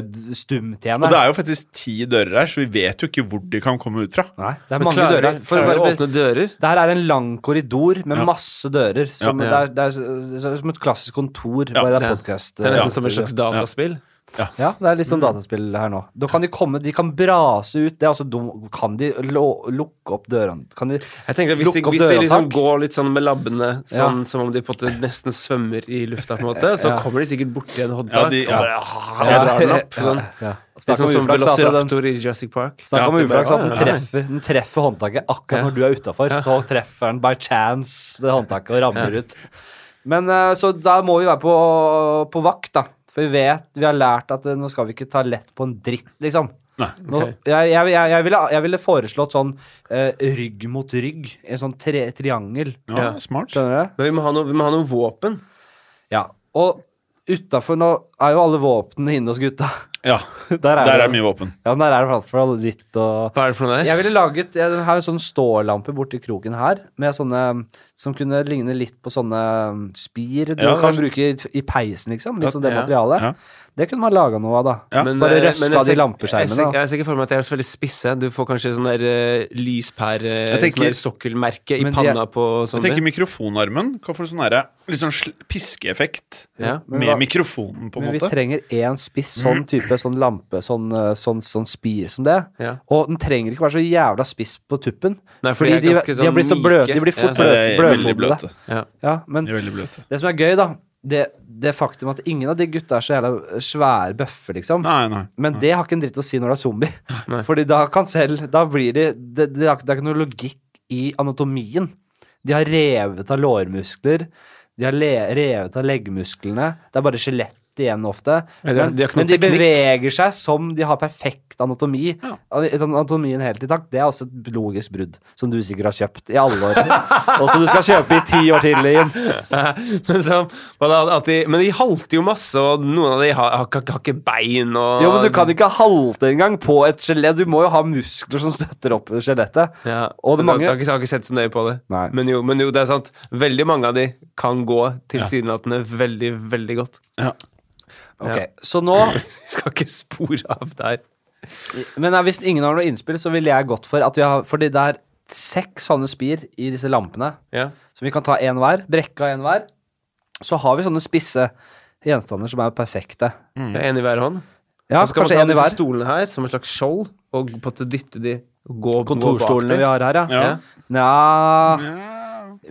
Og det
jakkestumtjeneren.
er jo faktisk ti dører her, så vi vet jo ikke hvor de kan komme ut fra.
Nei, det er
Men
mange
klarer,
dører. For å
klarer å
bare be-
åpne dører?
Det her er en lang korridor med masse dører. Som,
Ja.
Det, er, det, er, så- så- som et klassisk kontor.
Ja,
bare det
det
er
er-
podcast.
Det er
eh,
nesten som et slags dataspill.
Ja, det er litt sånn dataspill her nå. Da kan de komme, de kan brase ut. Det er altså dum, kan de lo, lukke opp dørene? Kan de
Jeg tenker at Hvis, de,
Lukke opp
hvis de liksom
dørhåndtak.
går litt sånn med labbene, sånn som om de på en måte nesten svømmer i lufta, på en måte, så
Ja.
kommer de sikkert borti en
Ja,
håndtak
de- ja.
og bare ah, drar den opp. Sånn.
ja.
Det er
Snakk om
sånn som
uflaks, at den,
Velociraptor i Jurassic Park.
snakk om
Ja, det bare-
uflaks at den
Ja, ja.
treffer, den treffer håndtaket akkurat
Ja.
når du er utafor. Så treffer den by chance det håndtaket og ramler ut. Men eh, så da må vi være på, på vakt, da. For vi vet, vi har lært at eh, nå skal vi ikke ta lett på en dritt, liksom.
Nei.
Nå, jeg, jeg, jeg, jeg, ville, jeg ville foreslått sånn eh, rygg mot rygg. En sånn tre, triangel.
Ja,
Ja.
smart.
Skjønner du?
Men vi må ha noe, vi må ha noe våpen.
Ja. Og utafor nå er jo alle våpnene inne hos gutta.
Ja,
Der er,
Der er
det.
det mye våpen.
Ja, der er det i hvert fall litt å
Hva er det for noe der?
Jeg ville laget Jeg har en sånn stålampe borti kroken her, med sånne som kunne ligne litt på sånne um, spir du
Ja,
kan
kanskje-
bruke i, i peisen, liksom. Litt sånn det
Ja,
materialet.
ja.
Det kunne man laga noe av, da.
Ja.
Men,
Bare
eh,
røska
men jeg
de
ser-
lampeskjermene,
Jeg, ser-
da.
jeg er sikker for meg at de er så veldig spisse. Du får kanskje sånn der eh, lyspære
Jeg tenker-
sånn der sokkelmerke i
Men de er-
panna på
Jeg tenker
zombie.
mikrofonarmen kan få sånn herre Litt sånn sl- piskeeffekt
Ja.
Men
med
hva-
mikrofonen, på en
Men vi
måte. Mm.
trenger én spiss sånn type sånn lampe, sånn, eh, sånn, sånn spir som det.
Ja.
Og den trenger ikke være så jævla spiss på tuppen.
Nei, for
fordi
de er
de,
ganske
de har
sånn
blitt så
myke.
bløte. De blir
Ja,
fort bløt,
Så det er veldig
bløthodede.
bløte.
Ja.
Ja, men
De er veldig bløte.
det som er gøy, da, det, det faktum at ingen av de gutta er så jævla svære bøffer, liksom.
Nei, nei.
Men det har ikke en dritt å si når du er zombie. Fordi da kan selv Da blir de Det, det, er, ikke- det er ikke noe logikk i anatomien. De har revet av lårmuskler. De har le, revet av leggmusklene. Det er bare skjelett igjen ofte.
Ja, de har- de har ikke
men de
noe teknikk.
beveger seg som de har perfekt anatomi.
Ja.
Et Anatomien helt i takt. Det er også et logisk brudd, som du sikkert har kjøpt i alle år. Og som du skal kjøpe i ti år til, Liam.
men, så, hva da, at de, men de halter jo masse, og noen av de har, har, ikke- har ikke bein og
Jo, men du kan ikke halte engang på et skjelett. Du må jo ha muskler som støtter opp skjelettet.
ja.
Og det
Men
mange
jeg, har ikke, jeg har ikke sett så nøye på det.
Nei.
Men, jo, men jo, det er sant. Veldig mange av de kan gå tilsynelatende veldig, veldig godt.
Ok,
Ja.
Ja.
Så nå
Vi skal ikke spore av der.
Men eh, hvis ingen har noe innspill, så ville jeg gått for at vi har Fordi det er seks sånne spir i disse lampene,
Ja.
som vi kan ta én hver. Brekke av én hver. Så har vi sånne spisse gjenstander som er perfekte.
Det er en i hver hånd.
Ja,
Og så kan
kanskje
man
én
ta
i
disse
hver.
stolene her som en slags skjold, og på en måte dytte de og gå, gå bak
Kontorstolene
dem.
vi har her, ja.
Ja.
Nja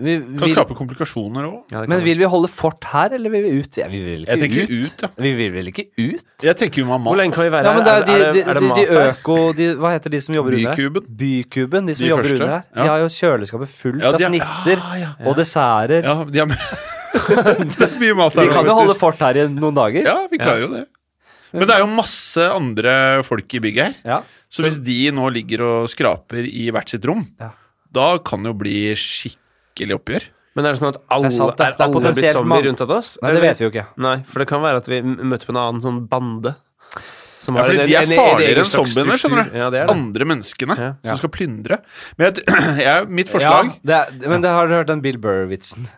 vi,
Kan
vil,
skape komplikasjoner òg.
Ja, det kan
Men
man.
vil vi holde fort her, eller vil vi ut? Ja, vi vil ikke
Jeg tenker
ut.
ut, ja.
Vi vil vel ikke ut?
Jeg tenker vi må ha
Hvor
mat.
lenge kan vi være
Ja, men det
her?
er de, de,
er
de, de
mat her?
øko... De, hva heter de som jobber under her?
Bykuben.
Bykuben, de som
De
jobber
første,
under her.
ja.
De har jo kjøleskapet fullt
Ja,
av
de er-
snitter og desserter.
Ja, de har Det er mye mat her.
Vi kan jo holde
faktisk.
fort her i noen dager.
Ja, vi klarer jo det. Men det er jo masse andre folk i bygget her.
Ja.
Så hvis de nå ligger og skraper i hvert sitt rom,
Ja.
da kan det jo bli skikkelig oppgjør.
Men er det sånn at alle
Det er
er,
sant, det er- det er
alle
potensielt
blitt
mange.
zombier rundt at oss?
Nei, det vet vi jo ikke.
Nei, for det kan være at vi m- møtte på en annen sånn bande. Som
Ja,
har
fordi
en-
de er
en- en egen
farligere enn
slags
zombiene, skjønner du.
struktur. Ja, det er det.
Andre menneskene
Ja.
som skal plyndre. Men jeg, t- jeg, mitt forslag
Ja, det er, men det har du hørt den Bill Burr-vitsen.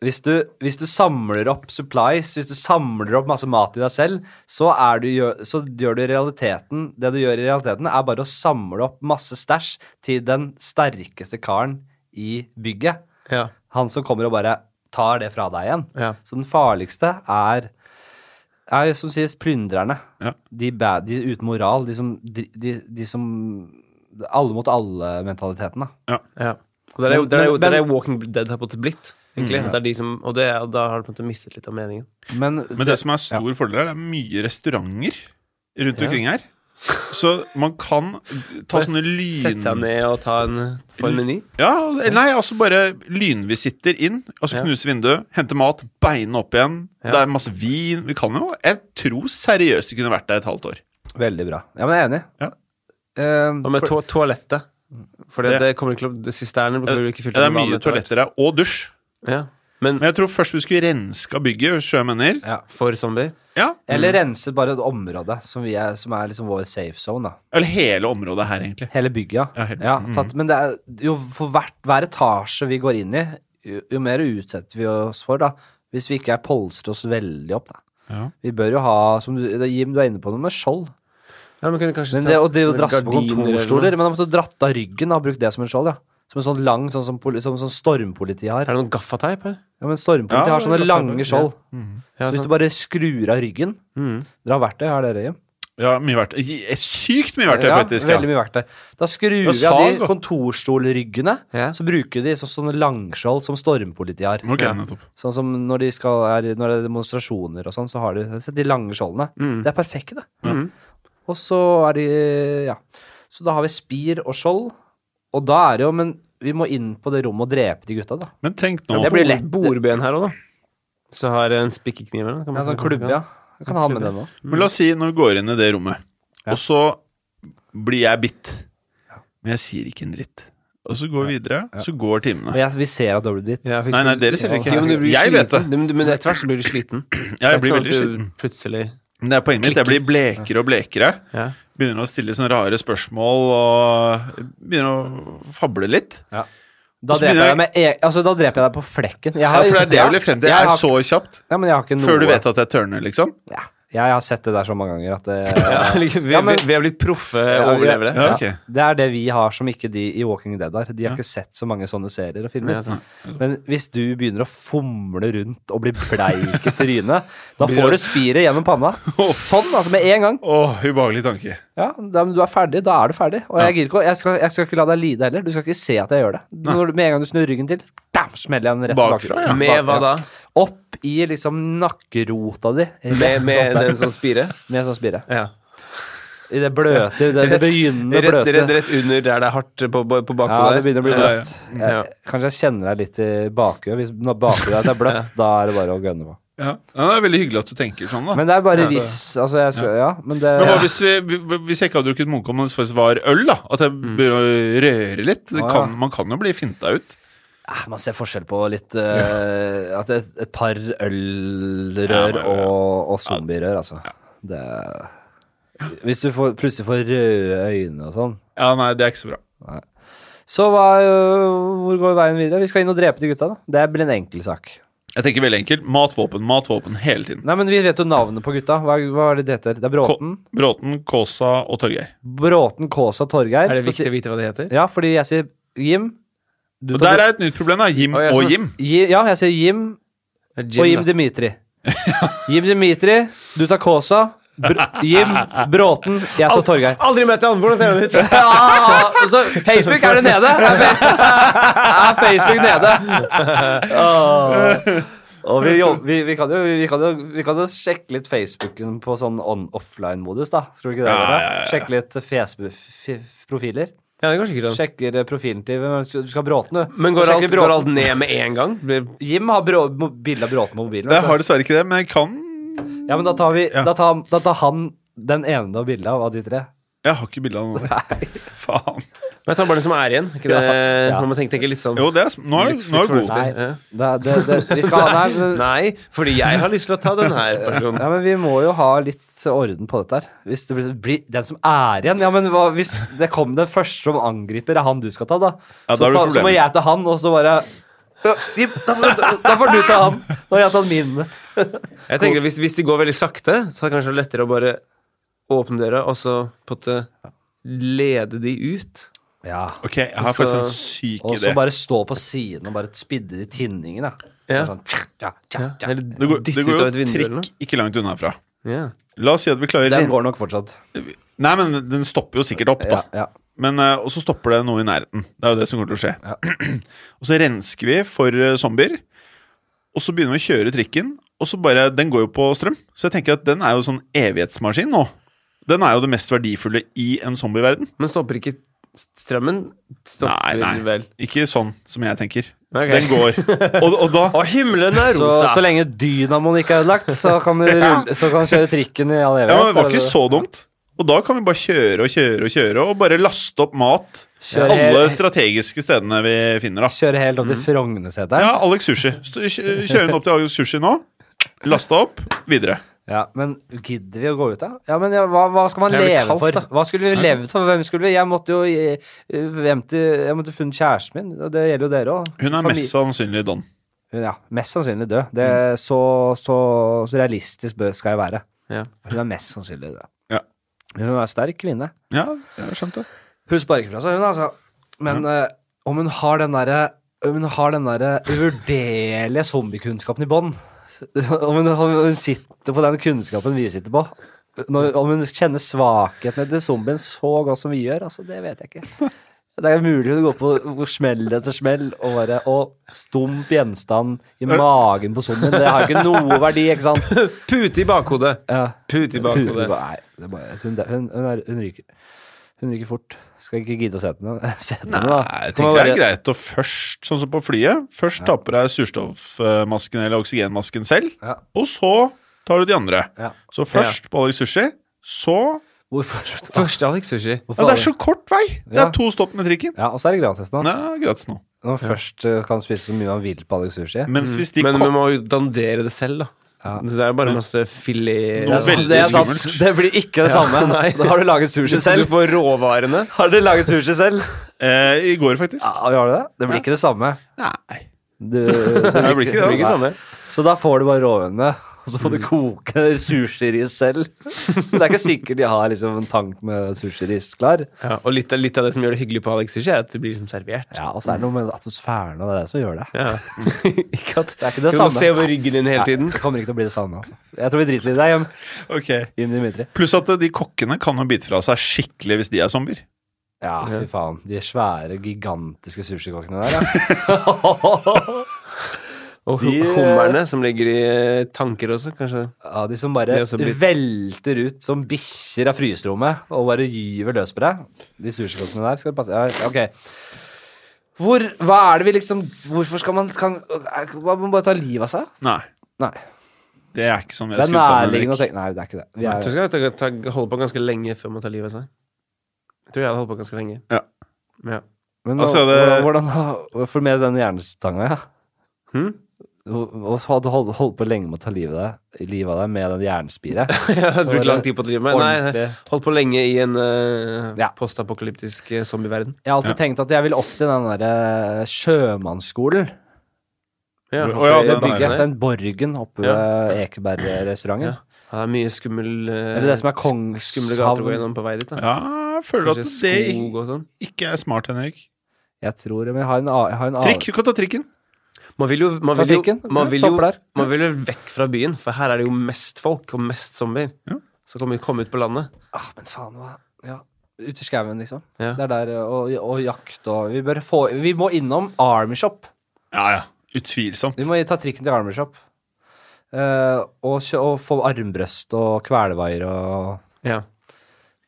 Hvis du, hvis du samler opp supplies, hvis du samler opp masse mat i deg selv, så, er du, gjø- så gjør du i realiteten Det du gjør i realiteten, er bare å samle opp masse stæsj til den sterkeste karen i bygget.
Ja.
Han som kommer og bare tar det fra deg igjen.
Ja.
Så den farligste er er jo som sies plyndrerne.
Ja.
De, bad, de uten moral. De som, de, de, de som Alle mot alle-mentaliteten, da.
ja. Og der er jo, der er jo,
Men-
der er jo
men-
Walking Dead har på en måte blitt.
Mm.
Egentlig. At Det er de som, og det, er- da har du på en måte mistet litt av meningen.
Men,
Men det som er stor fordel her, det er mye restauranter rundt omkring her. Så man kan ta sånne lyn...
Sette seg ned og ta en, få en meny.
Ja, eller nei, altså bare lynvisitter inn, altså
Ja.
knuse vinduet, hente mat, beine opp igjen.
Ja.
Det er masse vin. Vi kan jo Jeg tror seriøst vi kunne vært der et halvt år.
Veldig bra. Ja, men jeg er enig.
Ja.
Ehm,
Og med
for,
to toalettet. For det,
Ja.
det kommer ikke til å det- Sisternen
Ja,
blir ikke fylt
det er
med vann
mye
etter hvert.
toaletter der, og dusj.
Ja. Men
Men jeg tror først vi skulle renska bygget, sjømenner.
for zombier Mm.
Ja.
eller renset bare et område som, vi er, som er liksom vår safe zone. da.
Eller hele området her, egentlig.
Hele bygget, ja.
Ja, hele-
ja tatt, men det er, jo for hvert, hver etasje vi går inn i, jo, jo mer utsetter vi oss for, da. Hvis vi ikke er polstret oss veldig opp, da.
Ja.
Vi bør jo ha, som du, Jim, du er inne på noe med skjold.
Ja, men kunne kanskje
Men
ta
det, og det å
noen
drasse på
gardiner eller noe.
kontorstoler Men han måtte dratt av ryggen og brukt det som en skjold, ja. Som en sånn lang, sånn som, poli, som, som stormpolitiet har.
Er det noen gaffateip her?
Ja, men stormpolitiet
Ja,
har sånne
det er klart det
lange
er-
skjold.
Ja, sånn.
så hvis
sant.
du bare skrur av ryggen Dere har verktøy, har dere, Jim?
Ja, mye verktøy. Je- Sykt mye verktøy, faktisk.
veldig
Ja.
mye verktøy. Da skrur
Ja,
vi av de
sag, da.
kontorstolryggene,
Ja.
så bruker de så, sånne langskjold som stormpolitiet har.
Ok,
Ja.
nettopp.
Sånn som når, de skal, er, når det er demonstrasjoner og sånn, så har de sett de lange skjoldene. Det er perfekte, det.
Mm.
Mhm.
Og så er de Ja. Så da har vi spir og skjold, og da er det jo Men vi må inn på det rommet og drepe de gutta, da.
Men tenk nå
Ja, det blir lett.
Bordben her òg, da. Så har en spikkekniv eller noe. kan
Ja,
man-
sånn klubbe, ja. Jeg kan ha med den òg.
Men la oss si når vi går inn i det rommet,
Ja.
og så blir jeg bitt. Men jeg sier ikke en dritt. Og så går vi videre, så går
Og
timene.
jeg, vi ser at Double Beat
Ja, for hvis
Nei, nei,
du-
dere ser det ikke.
Jo, men du blir
Jeg vet
sliten. Men- Men etter hvert så blir du sliten. Det
Jeg blir
er ikke sånn
veldig
at du
sliten.
Plutselig
Men det er poenget mitt. Jeg blir blekere og blekere.
Ja.
Begynner å stille sånne rare spørsmål og begynner å fable litt.
Da
Og
dreper
så begynner
jeg deg
jeg-
med e altså, Da dreper jeg deg på flekken. Jeg
Ja,
har-
for det er det jeg vil frem til.
Jeg
Jeg
har-
er så kjapt.
Ja, men jeg har ikke noe
Før du vet at jeg tørner, liksom.
ja, Jeg har sett det der så mange ganger at det
vi,
Ja, men-
vi, vi er blitt proffe
Ja, vi-
overlevere.
Ja, ok.
Det er det vi har som ikke de i Walking Dead har. De har
Ja.
ikke sett så mange sånne serier og
Nei,
filmer.
altså.
Men hvis du begynner å fomle rundt og bli bleik i trynet, da får du spiret gjennom panna. Sånn, altså, med en gang.
Åh, ubehagelig tanke.
Ja, da, men du er ferdig, da er du ferdig. Og jeg, gir ikke, å- jeg, skal, jeg skal ikke la deg lide heller. Du skal ikke se at jeg gjør det. Når, du- med en gang du snur ryggen til, bam, smeller jeg den rett
Bakfra,
tilbake.
ja.
Med hva da?
Opp i liksom nakkerota di.
Med, med en sånn spire?
Med sånn spire.
Ja.
I det bløte, det, det begynnende
Rett,
bløte.
rett, rett under der det er hardt eh, på, på, på
Ja, det
bakhodet.
begynner å bli
Ja, ja.
bløtt. Jeg, kanskje jeg kjenner deg litt i bakhuet. Hvis når bakhuet ditt er bløtt, da er det bare å gønne på.
Ja. Ja, det er veldig hyggelig at du tenker sånn, da. Men,
Men eh, det er bare hvis Altså, jeg skal Ja, men det
hva hvis, vi, vi- hvis jeg ikke hadde drukket Munkholm, men det faktisk var øl, da? At jeg begynner å røre litt? Det
Ah,
kan,
Mm. ja.
man kan jo bli finta ut.
Eh, Man ser forskjell på litt eh, At et, et par
Ja,
ølrør
men-
og, og zombierør, altså. Det Hvis du får, plutselig får røde øyne og sånn.
Ja, nei, det er ikke så bra.
Så hva, øh, hvor går veien videre? Vi skal inn og drepe de gutta, da. Det blir en enkel sak.
Jeg tenker veldig enkelt. Matvåpen, matvåpen hele tiden.
Nei, men vi vet jo navnet på gutta. Hva, hva er det det heter? Det er Bråten.
Ko- Bråten, Kåsa og Torgeir.
Bråten, Kaasa, Torgeir.
Er det
Så si-
viktig å vite hva det heter?
Ja, fordi jeg sier Jim. Du
Og
tar
der er et nytt problem, da. Jim
Å, ja,
og
sånn.
Jim.
Ji- Ja, jeg sier Jim og Jim
da.
Dimitri. Jim Dimitri, du tar Kaasa. Br Jim Bråten, jeg tar Torgeir.
Aldri møtt han! Hvordan ser han ut?
Ja, så Facebook er det nede! Er Fe- Er Facebook nede? Åh. Og vi, jobb- vi, vi, kan jo, vi, kan jo, vi kan jo sjekke litt Facebooken på sånn on-offline-modus, da. Tror du ikke det?
Ja,
dere?
ja, ja, ja.
Sjekke litt Facebook-profiler.
Ja, det er kanskje ikke sånn.
Sjekker eh, profilen til hvem du skal- du skal ha Bråten, du.
Men
Så
går
sjekker
alt,
Bråten.
går alt ned med en gang? Blir,
Jim har brå, mo- bilde av Bråten på mobilen.
Jeg
vet du.
har dessverre ikke det, men jeg kan
Ja, men da tar, vi,
Ja.
da, tar, da tar han den ene av bildet av, av de tre.
Jeg har ikke bilde av noen. Faen.
men jeg tar bare det som er igjen. Ikke det,
ja.
Man må tenke, tenke litt sånn
Jo, det er, sm- nå er,
litt
nå
litt
er du god.
fornuftig.
Nei.
Ja.
Det, det, det, vi skal ha den her.
Nei, fordi jeg har lyst til å ta den her personen.
Ja, men vi må jo ha litt eh, orden på dette her. Hvis det blir, blir den som er igjen Ja, men hva, hvis det kom den første som angriper, er han du skal ta, da. så,
Ja, da er det
ta,
et
så må
problem.
jeg ta han, og så bare «Øh, Jim, da får, da får du ta han. Nå har jeg tatt min.
Jeg tenker Hvis, hvis de går veldig sakte, så er det kanskje lettere å bare åpne døra og så på en måte lede de ut.
Ja.
Ok, jeg har faktisk en syk
Og så
idé.
bare stå på siden og bare spidde de tinningene.
Ja.
Sånn, tja, tja, tja.
Eller
Det går, det
dytte ut
går
av
jo
et vindu eller noe.
trikk ikke langt unna herfra.
Ja.
La oss si at vi klarer
Den går nok fortsatt.
Nei, men den stopper jo sikkert opp, da.
Ja, ja.
Men, eh, og så stopper det noe i nærheten. Det er jo det som kommer til å skje. og så rensker vi for eh, zombier. Og så begynner vi å kjøre trikken. Og så bare, Den går jo på strøm, så jeg tenker at den er jo sånn evighetsmaskin nå. Den er jo det mest verdifulle i en zombieverden.
Men stopper ikke strømmen? Stopper
Nei, nei.
vel
Ikke sånn som jeg tenker.
Ok.
Den går. Og, og da
Og himmelen er
Så,
rosa!
så lenge dynamoen ikke er ødelagt, så kan du, rulle, så kan du kjøre trikken i all evighet.
Ja, men Det var
eller
ikke så dumt. Og da kan vi bare kjøre og kjøre og kjøre, og bare laste opp mat
Kjøre
alle
helt-
strategiske stedene vi finner. da.
Kjøre helt opp til Frogneseteren.
Mm. Ja, Alex Sushi. St- kjø- Kjøre den opp til Alex Sushi nå. Laste opp, videre.
Ja, men gidder vi å gå ut, da? Ja, men ja, hva, hva skal man
Det er
leve
veldig kaldt,
for?
da.
Hva skulle vi levd for? Hvem skulle vi? Jeg måtte jo eh, hjem til Jeg måtte funnet kjæresten min, og det gjelder jo dere òg.
Hun er mest Mm. sannsynlig Don.
Hun ja, mest sannsynlig død. Det er så, så, så realistisk bø- skal jeg være.
Ja.
Hun er mest sannsynlig død.
Ja.
Hun er en sterk kvinne.
Ja, jeg skjønte det.
Hun sparer ikke fra seg, hun, altså. Men eh, om hun har den derre om hun har den derre uvurderlige zombiekunnskapen i bånn, om, hun- om hun sitter på den kunnskapen vi sitter på når, Om hun kjenner svakheten til zombien så godt som vi gjør, altså, det vet jeg ikke. Det er mulig hun går på smell etter smell og bare Og stump gjenstand i magen på zombien. Det har jo ikke noe verdi, ikke sant?
Pute i bakhodet!
Ja.
Pute i
Pute
bakhodet.
ba- Nei, det er bare, hun, hun, hun, er, hun ryker. Hun ryker fort. Skal ikke gidde å se den. Se den da.
Nei, jeg
Kan man
tenker det
bare-
er greit å først, sånn som på flyet, først ta på deg surstoffmasken eller oksygenmasken selv,
Ja.
og så tar du de andre.
Ja.
Så først på Alex Sushi, så
Hvorfor?
Første Alex Sushi.
hvorfor
Ja, det er så kort vei! Det
Ja.
er to stopp med trikken.
Ja, og så er det gratis nå.
Ja, gratis nå.
Når man først eh, kan spise så mye man vil på Alex Sushi.
Mens hvis de
Men
kom-
vi må jo dandere det selv, da. Så Det er jo bare masse filet
Nå
Det er sant,
veldig
det, er sant.
skummelt.
det blir ikke det samme.
nei.
Da har du laget sushi
Du
selv.
får råvarene.
Har dere laget sushi selv?
eh, I går, faktisk.
Ja, har du det? Det blir ikke det samme.
Nei.
Du, det
Det blir ikke det.
Ikke sånn
Altså.
samme.
Så da får du bare råvarene, og så får
Mm.
du koke sushiris selv. Men det er ikke sikkert de har liksom en tank med sushiris klar.
Ja, og litt av, litt av det som gjør det hyggelig på Alex Sushi, er at det blir liksom servert.
Ja, Og så er det noe med atmosfæren og det er det som gjør det.
Ja. ikke at
Det er ikke
du
det
må
samme.
se over ryggen din hele tiden.
Nei, det kommer ikke til å bli det samme. altså. Jeg tror vi driter litt i deg, Jim.
Ok.
Jim Dimitri.
Pluss at de kokkene kan jo bite fra seg skikkelig hvis de er zombier.
Ja, fy faen. De svære, gigantiske sushikokkene der, ja.
Og
De, eh,
hum- hummerne som ligger i eh, tanker også, kanskje.
ja de som
De
bare
er også blitt-
velter ut som bikkjer av fryserommet og bare gyver løs på deg. De sushikokkene der skal passe Ja, ok. Hvor, hva er det vi liksom Hvorfor skal man kan, Man må bare ta livet av seg?
Nei,
Nei.
det er ikke sånn jeg
Det er
skulle
nærliggende å
sammenligne.
tenke Nei, det er ikke det. Vi
Jeg tror
er,
skal ta, ta, holde på ganske lenge før man tar livet av seg. Jeg tror jeg hadde holdt på ganske lenge.
Ja.
Ja.
men
Altså, det-
hvordan, hvordan For med den hjernestanga, ja.
Hm?
Og så hadde du holdt, holdt på lenge med å ta livet av deg, livet av deg med den jernspiret.
Jeg hadde brukt lang tid på å drive med. Nei,
Ordentlig.
holdt på lenge i en eh,
Ja.
postapokalyptisk eh, zombieverden.
Jeg har alltid tenkt at jeg vil opp til den derre sjømannsskolen.
Ja,
Å ja,
Det
den
bygget,
der.
den borgen oppe
Ja.
ved Ekebergrestauranten.
Ja. Ja, det er mye skummel eh,
Eller det som er
Skumle gater å gå
Kongshavn.
gjennom på vei dit. da
Ja, jeg føler at
Kanskje
det
skog og sånn.
ikke er smart, Henrik.
Jeg tror Men jeg har en, a- jeg har en a-
Trikk, du kan ta trikken.
Man vil jo, man
Ta
vil jo,
trikken.
man
Ja,
vil jo,
stopper der.
man vil jo vekk fra byen, for her er det jo mest folk og mest zombier.
Ja.
Så kan vi komme ut på landet.
ah, Men faen, hva ja. Ute i skauen, liksom.
Ja.
Det er der og, og jakt og Vi bør få Vi må innom Army Shop.
Ja, ja. Utvilsomt.
Vi må ta trikken til Army Shop. Eh, og, kjø- og få armbrøst og kvelevaier og
Ja.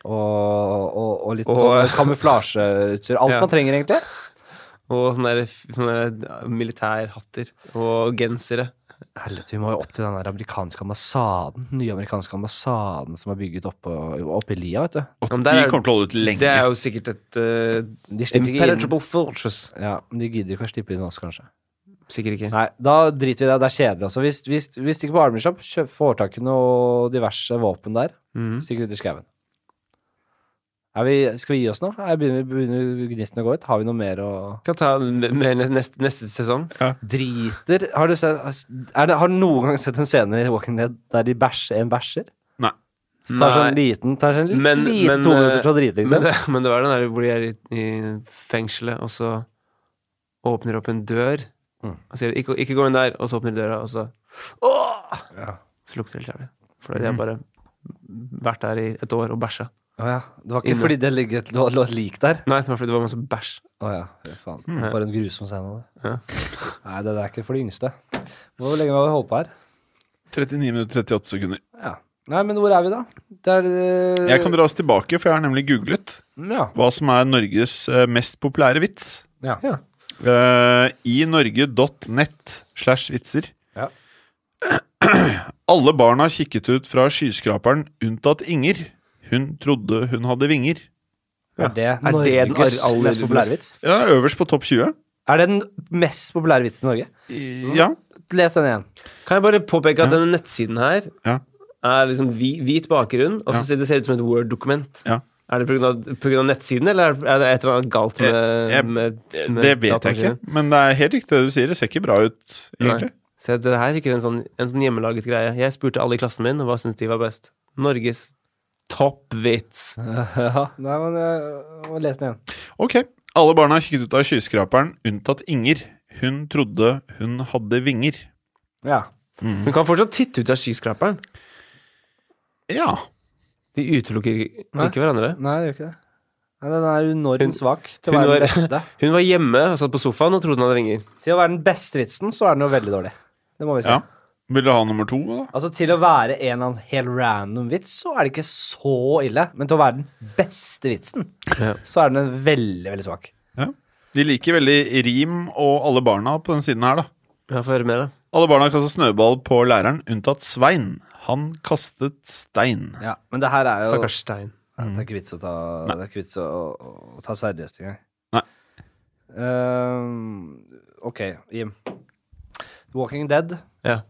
og, og, og litt
Og-
sånn kamuflasjeutstyr. Alt
Ja.
man trenger, egentlig.
Og sånne, der, sånne der eh, militærhatter og gensere.
Helvete, vi må jo opp til den der amerikanske ambassaden. Den nye amerikanske ambassaden som er bygget oppe opp i lia, vet du.
Og
Ja, men
de
der er-
kommer til å holde ut
Det
lenge.
er jo sikkert et eh,
De slipper ikke inn.
impenetrable fortress.
Ja, men de gidder ikke å slippe inn oss, kanskje.
Sikkert ikke.
Nei, da driter vi i det. Det er kjedelig, altså. Vi, vi, vi stikker på Army Shop, kjø- får tak i noe diverse våpen der.
Mhm.
Stikker ut i skauen. Er vi, skal vi gi oss nå? Her begynner, begynner gnisten å gå ut? Har vi noe mer å
Kan ta mer neste, neste sesong.
Driter Har du, sett, er det, har du noen gang sett en scene i Walking Dead der de bæsjer, en bæsjer?
Nei.
Så tar seg en
Nei.
liten, tar seg en liten,
Men- men,
to minutter
eh,
til å drite,
Men
liksom.
det, men det var den der hvor de er i, i fengselet, og så åpner opp en dør.
Mm.
Og sier ikke, 'ikke gå inn der', og så åpner de døra, og så Åh!
Ja.
Så lukter det litt jævlig. For de har bare vært der i et år og bæsja.
Å ja. Det var ikke
Inne.
fordi det ligger et- lå lå et lik der?
Nei, det var fordi det var masse bæsj.
Å ja. fy Faen.
Hmm.
For en grusom scene, det.
Ja.
Nei, det der er ikke for de yngste. Hvor lenge har vi holdt på her?
39 minutter 38 sekunder.
Ja. Nei, men hvor er vi, da? Det er eh,
Jeg kan dra oss tilbake, for jeg har nemlig googlet
ja.
hva som er Norges eh, mest populære vits.
Ja.
Eh, I norge.net slash vitser.
Ja.
Alle barna kikket ut fra skyskraperen unntatt Inger. Hun trodde hun hadde vinger.
Er det
den
Norges
aller- aller
mest populære vits?
Ja, Øverst på topp 20.
Er det den mest populære vitsen i Norge?
Ja.
Les den igjen.
Kan jeg bare påpeke at denne nettsiden her
Ja.
er liksom hvi- hvit bakgrunn, og så
Ja.
ser det ser ut som et Word-dokument.
Ja.
Er det pga. nettsiden, eller er det et eller annet galt med,
jeg-
med, med
Det vet jeg ikke,
datamaskinen?
men det er helt riktig det du sier. Det ser ikke bra ut, egentlig.
Nei. Se, det her er ikke en sånn, en sånn hjemmelaget greie. Jeg spurte alle i klassen min, og hva syns de var best? Norges toppvits.
Mm. Nei, men eh, Les den igjen.
Ok. Alle barna kikket ut av skyskraperen unntatt Inger. Hun trodde hun hadde vinger.
Ja.
Hun kan fortsatt titte ut av skyskraperen.
Ja.
De utelukker
Hæ?
ikke hverandre.
Nei, det gjør ikke det. Nei, den er enormt svak til å
hun
være den
var-
beste.
Hun var hjemme og satt på sofaen og trodde hun hadde vinger.
Til å være den beste vitsen, så er den jo veldig dårlig. Det må vi si.
ja. Vil du ha nummer to, da?
Altså, til å være en eller annen helt random vits, så er det ikke så ille. Men til å være den beste vitsen,
Ja.
så er den veldig, veldig svak.
Ja. De liker veldig rim og alle barna på den siden her, da.
Ja, Få høre mer, da.
Alle barna kasta snøball på læreren, unntatt Svein. Han kastet stein.
Ja, men det her er jo
Stakkars Stein.
Ja, Det er ikke vits å ta, det er ikke vits å, å, å ta seriøst engang.
Nei.
Ehm, ok, Jim. The Walking Dead.
Ja.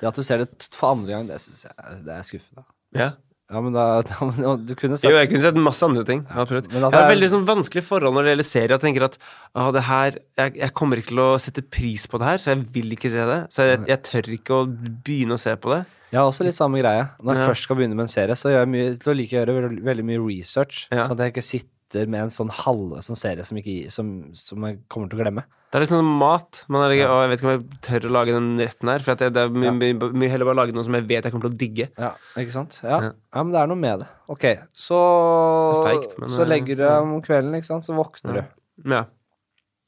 Det at du ser det t- for andre gang, det syns jeg det er skuffende.
ja.
Ja, men da, da men Du kunne sagt
Jo, jeg kunne sett masse andre ting. Jeg har prøvd.
Men at
Jeg har
det er-
veldig sånn vanskelig forhold når det gjelder serier. Jeg tenker at «Å, det her, jeg, jeg kommer ikke til å sette pris på det her, så jeg vil ikke se det. Så jeg, jeg tør ikke å begynne å se på det.
Jeg har også litt samme greie. Når jeg
Ja.
først skal begynne med en serie, så gjør jeg mye, til å like å gjøre veldig, veldig mye research.
Ja.
Sånn at jeg ikke sitter med en sånn halve sånn serie som, ikke, som, som jeg kommer til å glemme.
Det er litt sånn som mat. Man er, ikke- «Å, jeg vet ikke om jeg tør å lage den retten her. For at jeg, det er mye, mye, mye heller bare lage noe som jeg vet jeg kommer til å digge.
Ja, ikke sant? Ja.
Ja.
ja. men det er noe med det. Ok, så
Det er feigt, men-
Så legger du deg om kvelden, ikke sant, så våkner du.
Men ja.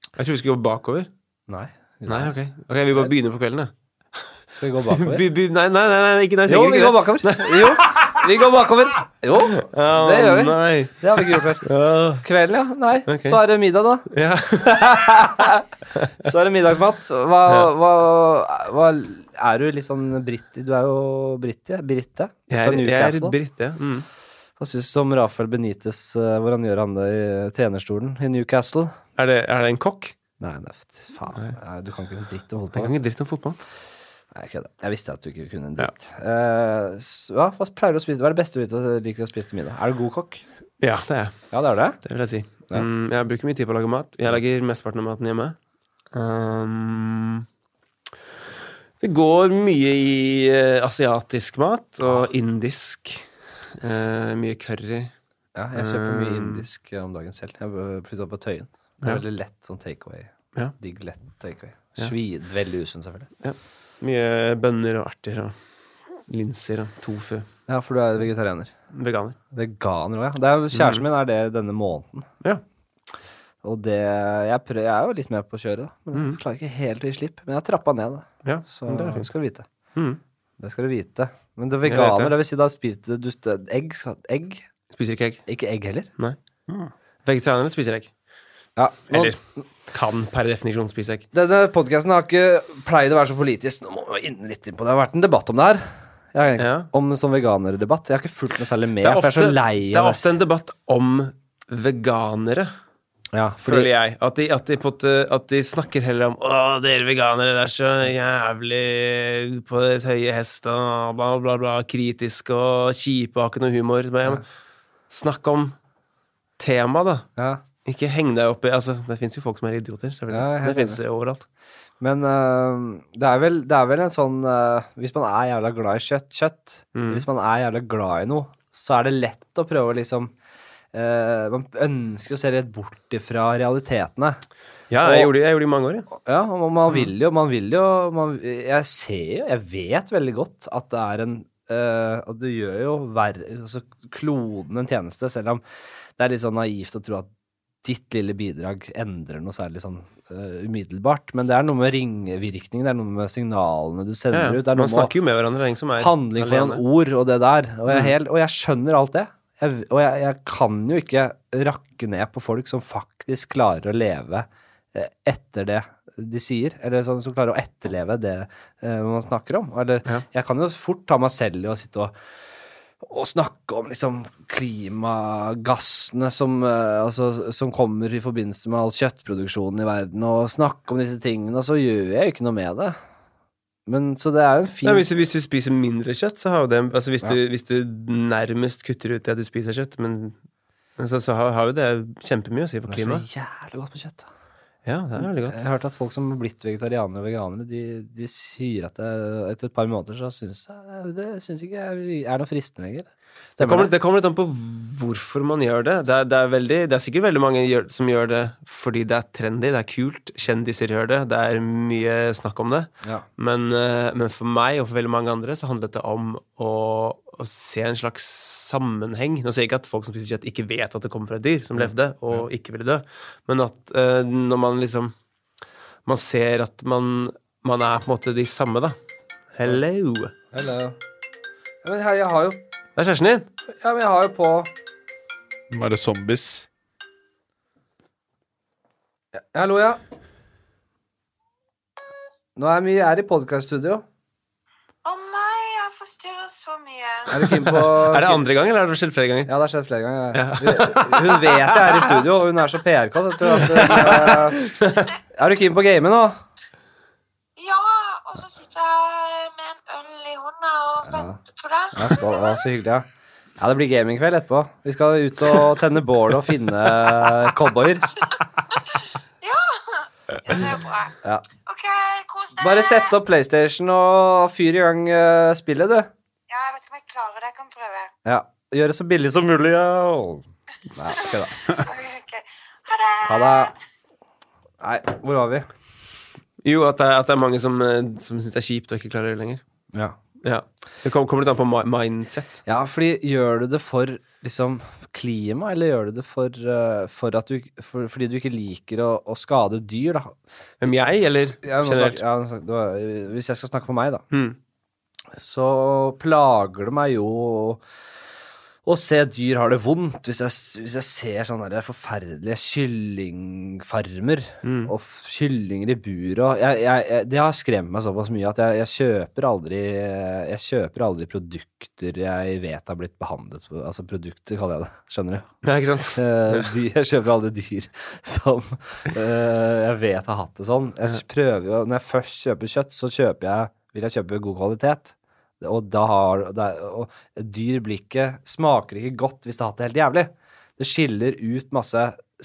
Jeg tror vi skulle gå bakover.
Nei.
Nei, ok. Ok, Vi bare begynner på kvelden, da.
Skal vi gå bakover?
By, by, nei, nei, nei, nei, ikke, nei,
Jo,
trenger
vi
ikke
går bakover. Jo, vi går bakover. Jo, det gjør vi.
Nei.
Det har vi ikke gjort før.
Åh,
Kvelden, ja. Nei.
Ok.
Så er det middag, da.
ja.
Så er det middagsmat. Hva, hva, hva Er du litt sånn britt... Du er jo britte? Britte? Fra
Jeg er, jeg er
Newcastle.
britt, ja. Mm.
Hva syns du om Rafael Benitez, eh, hvor han gjør han det i trenerstolen i Newcastle?
Er, det, er det en kokk?
Nei, nei, f- faen. Nei, du kan ikke en dritt om
Jeg
fotball.
kan ikke dritt om fotball.
Nei, kødda. Jeg visste at du ikke kunne en dritt. Eh, s- ja, hva pleier du å spise? Hva er det beste du vet- liker å spise til middag? Er du god kokk?
Ja, det er jeg.
Ja, det er det.
Det vil jeg si.
Ja.
Mm, jeg bruker mye tid på å lage mat. Jeg lager mesteparten av maten hjemme. Um, det går mye i eh, asiatisk mat
Ah.
og indisk. Eh, mye curry.
Ja, jeg kjøper mye
Um,
indisk eh, om dagen selv. Jeg b- flytta på Tøyen. Det er
Ja.
Veldig lett sånn takeaway.
Ja.
Digg lett takeaway.
Ja.
Svi, veldig usunn, selvfølgelig.
Mye bønner og erter og linser og tofu.
Ja, for du er vegetarianer.
Veganer.
Veganer òg, ja. Det er,
Mm.
jo- kjæresten min er det denne måneden.
Ja.
Og det jeg, prøv, jeg er jo litt med på kjøret, da. Men jeg klarer ikke helt å gi slipp. Men jeg har trappa ned, da.
Ja,
Så
Mm. men det er fint.
skal du vite.
Mm.
Det skal du vite. Men det
vet det.
veganer, det vil si da spiste du stø- egg? sa- Egg?
Spiser ikke egg.
Ikke egg heller?
Nei.
Ah.
Vegetarianer spiser egg.
Ja. nå-
Eller kan per definisjon spise egg.
Denne podkasten har ikke pleid å være så politisk. Nå må vi inn litt inn på det. Det har vært en debatt om det her. Jeg, har-
Ja.
Om en sånn veganerdebatt. Jeg har ikke fulgt noe særlig med,
Det
for
er
jeg er så
ofte,
lei
det er
av
ofte en debatt om veganere.
Ja,
Føler
fordi,
jeg. At de, at, de på en måte, at de snakker heller om Å, dere veganere, det er så jævlig på deres høye hest og bla, bla, bla. Kritisk og kjipe og har ikke noe humor. Men, jeg- Snakk om tema, da.
ja.
Ikke heng deg opp i altså, Det fins jo folk som er idioter, selvfølgelig.
Ja, jeg er
det
helt
fins overalt.
Men øh, det, er vel, det er vel en sånn øh, Hvis man er jævla glad i kjøtt, kjøtt Hvis man er jævla glad i noe, så er det lett å prøve å liksom øh, Man ønsker å se litt bort ifra realitetene.
Ja, jeg gjorde, det- jeg gjorde det i mange år, ja.
Ja, og man
Mm.
vil jo, man vil jo man, Jeg ser jo, jeg vet veldig godt at det er en eh, At du gjør jo ver, altså kloden en tjeneste, selv om det er litt sånn naivt å tro at ditt lille bidrag endrer noe særlig sånn eh, umiddelbart, men det er noe med ringvirkninger, det er noe med signalene du sender
Ja,
ut. Det er
ja. Man
noe med
snakker jo med hverandre, hvem som er
handling foran ord og det der. Og
Mm.
jeg, er hel, og jeg skjønner alt det. Jeg, og jeg, jeg kan jo ikke rakke ned på folk som faktisk klarer å leve eh, etter det de sier, eller sånn som klarer å etterleve det eh, man snakker om. Eller, Jeg kan jo fort ta meg selv i å sitte og å snakke om liksom klimagassene som, eh, altså, som kommer i forbindelse med all kjøttproduksjonen i verden, og snakke om disse tingene, og så gjør jeg jo ikke noe med det. Men så det er jo en fin
Ja, hvis, du, hvis du spiser mindre kjøtt, så har jo det altså hvis, du, hvis du nærmest kutter ut det at du spiser kjøtt, men men så, så har, har jo det kjempemye å si for
Det er
klimaet.
så jævlig godt med kjøtt. da.
Ja, det er veldig godt.
Jeg har hørt at folk som har blitt vegetarianere og veganere, de, de sier at det, etter et par måneder så syns jeg- det syns ikke jeg er noe fristende lenger.
Det
Stemmer
kommer,
det?
det kommer litt an på hvorfor man gjør det. Det er, det er, veldig, det er sikkert veldig mange gjør, som gjør det fordi det er trendy, det er kult, kjendiser gjør det, det er mye snakk om det.
Ja.
Men, eh, men for meg og for veldig mange andre så handlet det om å, å se en slags sammenheng. Nå sier jeg ikke at folk som spiser kjøtt, ikke vet at det kommer fra et dyr som levde og ikke ville dø, men at eh, når man liksom Man ser at man, man er på en måte de samme, da. Hello! Det
Eller, ja, men jeg, jeg har jo
er kjæresten din!
Ja, men jeg har jo på
Bare zombies.
Hallo, ja. Nå er vi er i podkaststudio.
Å nei, jeg har forstyrra så mye.
Er du keen på
Er det andre gang, eller har det skjedd flere ganger?
Ja, det har skjedd flere ganger. Hun hun vet jeg er i studio, og hun er så PR-kåt. vet du, at, eh, Er du keen på å game nå?
Ja, og så sitter jeg med en øl i hånda og venter på deg.
Ja, skål. Å, så hyggelig, ja. Ja, det blir gamingkveld etterpå. Vi skal ut og tenne bål og finne eh, cowboyer.
Ja, det er bra.
Ja.
OK, kos deg.
Bare sett opp PlayStation og fyr i gang eh, spillet, du.
Ja, jeg vet ikke om jeg klarer det. Jeg kan prøve.
Ja. Gjør det så billig som mulig. Ja. Nei, ikke da.
Ok, Ha det.
Ha det. Nei, hvor var vi?
Jo, at det, er- at det er mange som, eh, som syns det er kjipt og ikke klarer det lenger.
Ja.
Ja. Det kom- kommer litt an på mi- mindset.
ja, fordi gjør du det for liksom klima, eller gjør du det for, eh, for at du for, Fordi du ikke liker å, å skade dyr, da?
Hvem jeg, eller
Ja, nå
generelt?
snak- ja, nå snak- da- hvis jeg skal snakke for meg, da.
Mm.
så plager det meg jo å- å se dyr har det vondt. Hvis jeg, s- hvis jeg ser sånne der forferdelige kyllingfarmer og f- kyllinger i bur og jeg, jeg, jeg, Det har skremt meg såpass mye at jeg, jeg, kjøper aldri, jeg kjøper aldri produkter jeg vet har blitt behandlet på- Altså produkter, kaller jeg det. Skjønner du?
Ja, ikke sant?
Eh, dyr, jeg kjøper alle dyr som eh, jeg vet har hatt det sånn. Jeg prøver jo, Når jeg først kjøper kjøtt, så kjøper jeg, vil jeg kjøpe god kvalitet. Og, da har, det er- og dyr blir ikke, smaker ikke godt hvis det har hatt det helt jævlig. Det skiller ut masse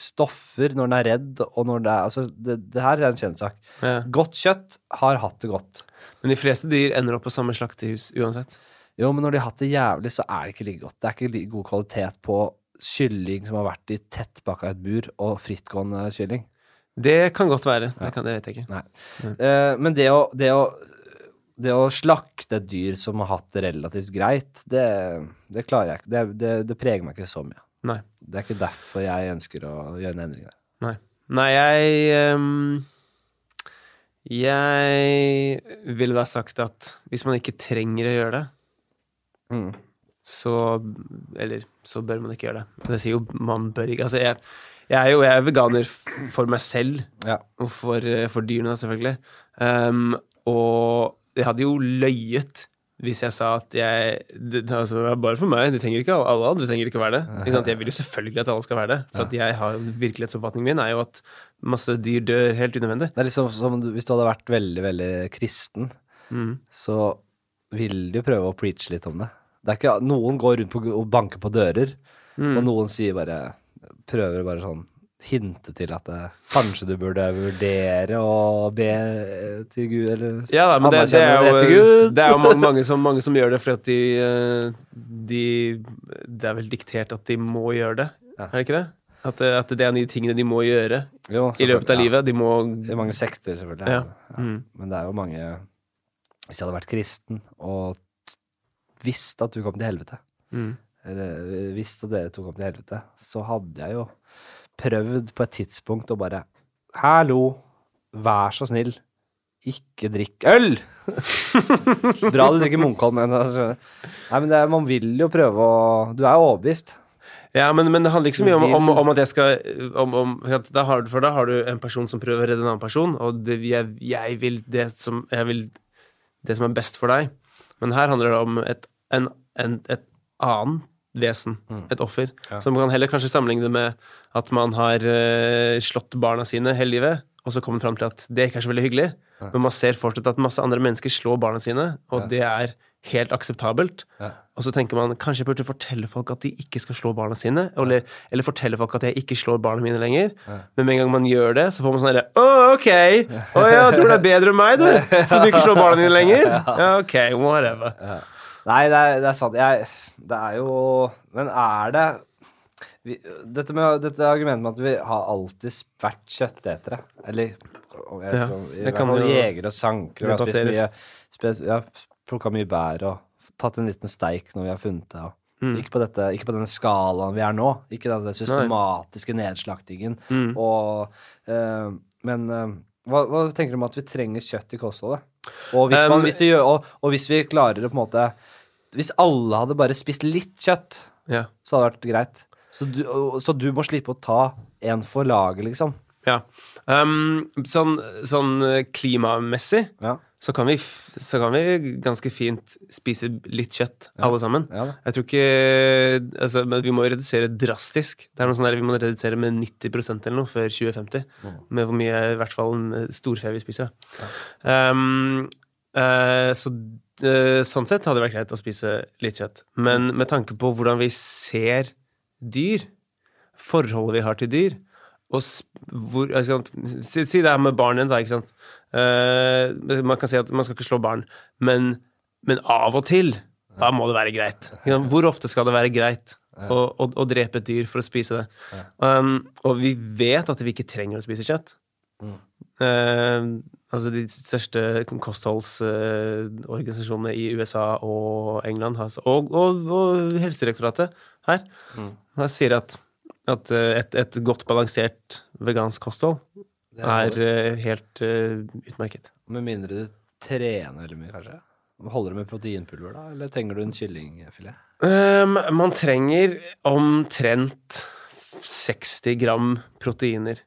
stoffer når den er redd, og når det er altså, det, det her er en kjent sak.
Ja.
Godt kjøtt har hatt det godt.
Men de fleste dyr ender opp på samme slaktehus uansett.
Jo, men når de har hatt det jævlig, så er det ikke like godt. Det er ikke like god kvalitet på kylling som har vært i tettpakka et bur, og frittgående kylling.
Det kan godt være. Det, kan, det vet jeg ikke.
Nei. Eh, men det å, det, å, det å slakte et dyr som har hatt det relativt greit, det, det klarer jeg ikke. Det, det, det preger meg ikke så mye.
Nei.
Det er ikke derfor jeg ønsker å gjøre en endring der.
Nei, Nei jeg ehm, Jeg ville da sagt at hvis man ikke trenger å gjøre det, så Eller så bør man ikke gjøre det. Det sier jo man bør ikke. Altså, jeg, jeg er jo jeg er veganer f- for meg selv.
Ja.
Og for, eh, for dyrene, da, selvfølgelig. Ehm, og jeg hadde jo løyet hvis jeg sa at jeg det, det- altså, det er bare for meg, de trenger ikke, alle andre trenger ikke å være det. Ikke sant? Jeg vil jo selvfølgelig at alle skal være det. For at jeg har virkelighetsoppfatningen min er jo at masse dyr dør helt unødvendig.
Det er liksom som om du- hvis du hadde vært veldig, veldig kristen, Mm. så vil du prøve å preache litt om det. det er ikke, noen går rundt på, og banker på dører,
Mm.
og noen sier bare Prøver bare sånn Hinte til at det, kanskje du burde vurdere å be eh, til Gud, eller s-
Ja, da, men det, det
anerkjenne
er
det til
jo, eh,
Gud.
det er jo mange, mange, som, mange som gjør det fordi at de, eh, de Det er vel diktert at de må gjøre det, er det ikke det? At, det- at det er en av de tingene de må gjøre
Jo,
i løpet
selvfølgelig,
av
ja.
livet. De må Mm.
Det er mange sekter, selvfølgelig.
Ja.
Ja. Men det er jo mange Hvis jeg hadde vært kristen og t- visst at du kom til helvete, eller visst at dere to kom til helvete, så hadde jeg jo prøvd på et tidspunkt å bare Hallo, vær så snill, ikke drikk øl! Bra du drikker Munkholm, men altså, Nei, men det er, man vil jo prøve å Du er jo overbevist.
Ja, men, men det handler ikke så mye om, om, om at jeg skal om, om, for at da har, du- For da har du en person som prøver å redde en annen person, og det, jeg, jeg, vil det som, jeg vil det som er best for deg. Men her handler det om et, en, en, et annet vesen, et offer. Så man kan heller kanskje sammenligne det med at man har eh, slått barna sine hele livet, og så kommer man fram til at det ikke er så veldig hyggelig. Men man ser fortsatt at masse andre mennesker slår barna sine, og det er helt akseptabelt. Og så tenker man kanskje jeg burde fortelle folk at de ikke skal slå barna sine. Eller, eller fortelle folk at jeg ikke slår barna mine lenger. Men med en gang man gjør det, så får man sånn herre Å, ok! Å ja, tror du det er bedre enn meg, du? For du ikke slår barna dine lenger? Ja, ok, whatever.
Nei, det er, det er sant. Jeg, det er jo Men er det vi, dette, med, dette argumentet med at vi har alltid vært kjøttetere, eller og jeg,
Ja,
tror, i
det
hvert
kan
fall
jo
jegere og sankere Vi har spist mye,
debatteres.
spist, ja, plukka mye bær og tatt en liten steik når vi har funnet det. Og,
Mm.
ikke, på dette, ikke på denne skalaen vi er nå. Ikke den systematiske nedslaktingen.
Mm.
Og, eh, men eh, hva, hva tenker du om at vi trenger kjøtt i kostholdet? Og hvis, man,
Um,
hvis det gjør, og, og hvis vi klarer å på en måte Hvis alle hadde bare spist litt kjøtt,
Ja.
så hadde det vært greit. Så du, og- så du må slippe å ta en for laget, liksom.
ja. Um, sånn, sånn klimamessig
Ja.
så kan, vi, f- så kan vi ganske fint spise litt kjøtt, alle sammen.
Ja da.
Jeg tror ikke altså, Men vi må jo redusere drastisk. Det er noe sånn der, Vi må redusere med 90 eller noe før 2050. Med hvor mye i hvert fall en storfe vi spiser. da. Um, eh, så eh, sånn sett hadde det vært greit å spise litt kjøtt.
Mm.
Men med tanke på hvordan vi ser dyr, forholdet vi har til dyr og s- hvor, altså, sant, si, si det her med barn igjen, da. Ikke sant? Eh, man kan si at man skal ikke slå barn, men, men av og til da må det være greit. Ikke sant? Hvor ofte skal det være greit å, å, å drepe et dyr for å spise det? Um, og vi vet at vi ikke trenger å spise kjøtt. Eh, altså De største kostholdsorganisasjonene i USA og England har, og, og, og Helsedirektoratet her her sier at, at eh, et, et godt balansert vegansk kosthold er eh, helt eh, utmerket.
Med mindre du trener veldig mye, kanskje. Holder du med proteinpulver, da? Eller trenger du en kyllingfilet?
Um, man trenger omtrent 60 gram proteiner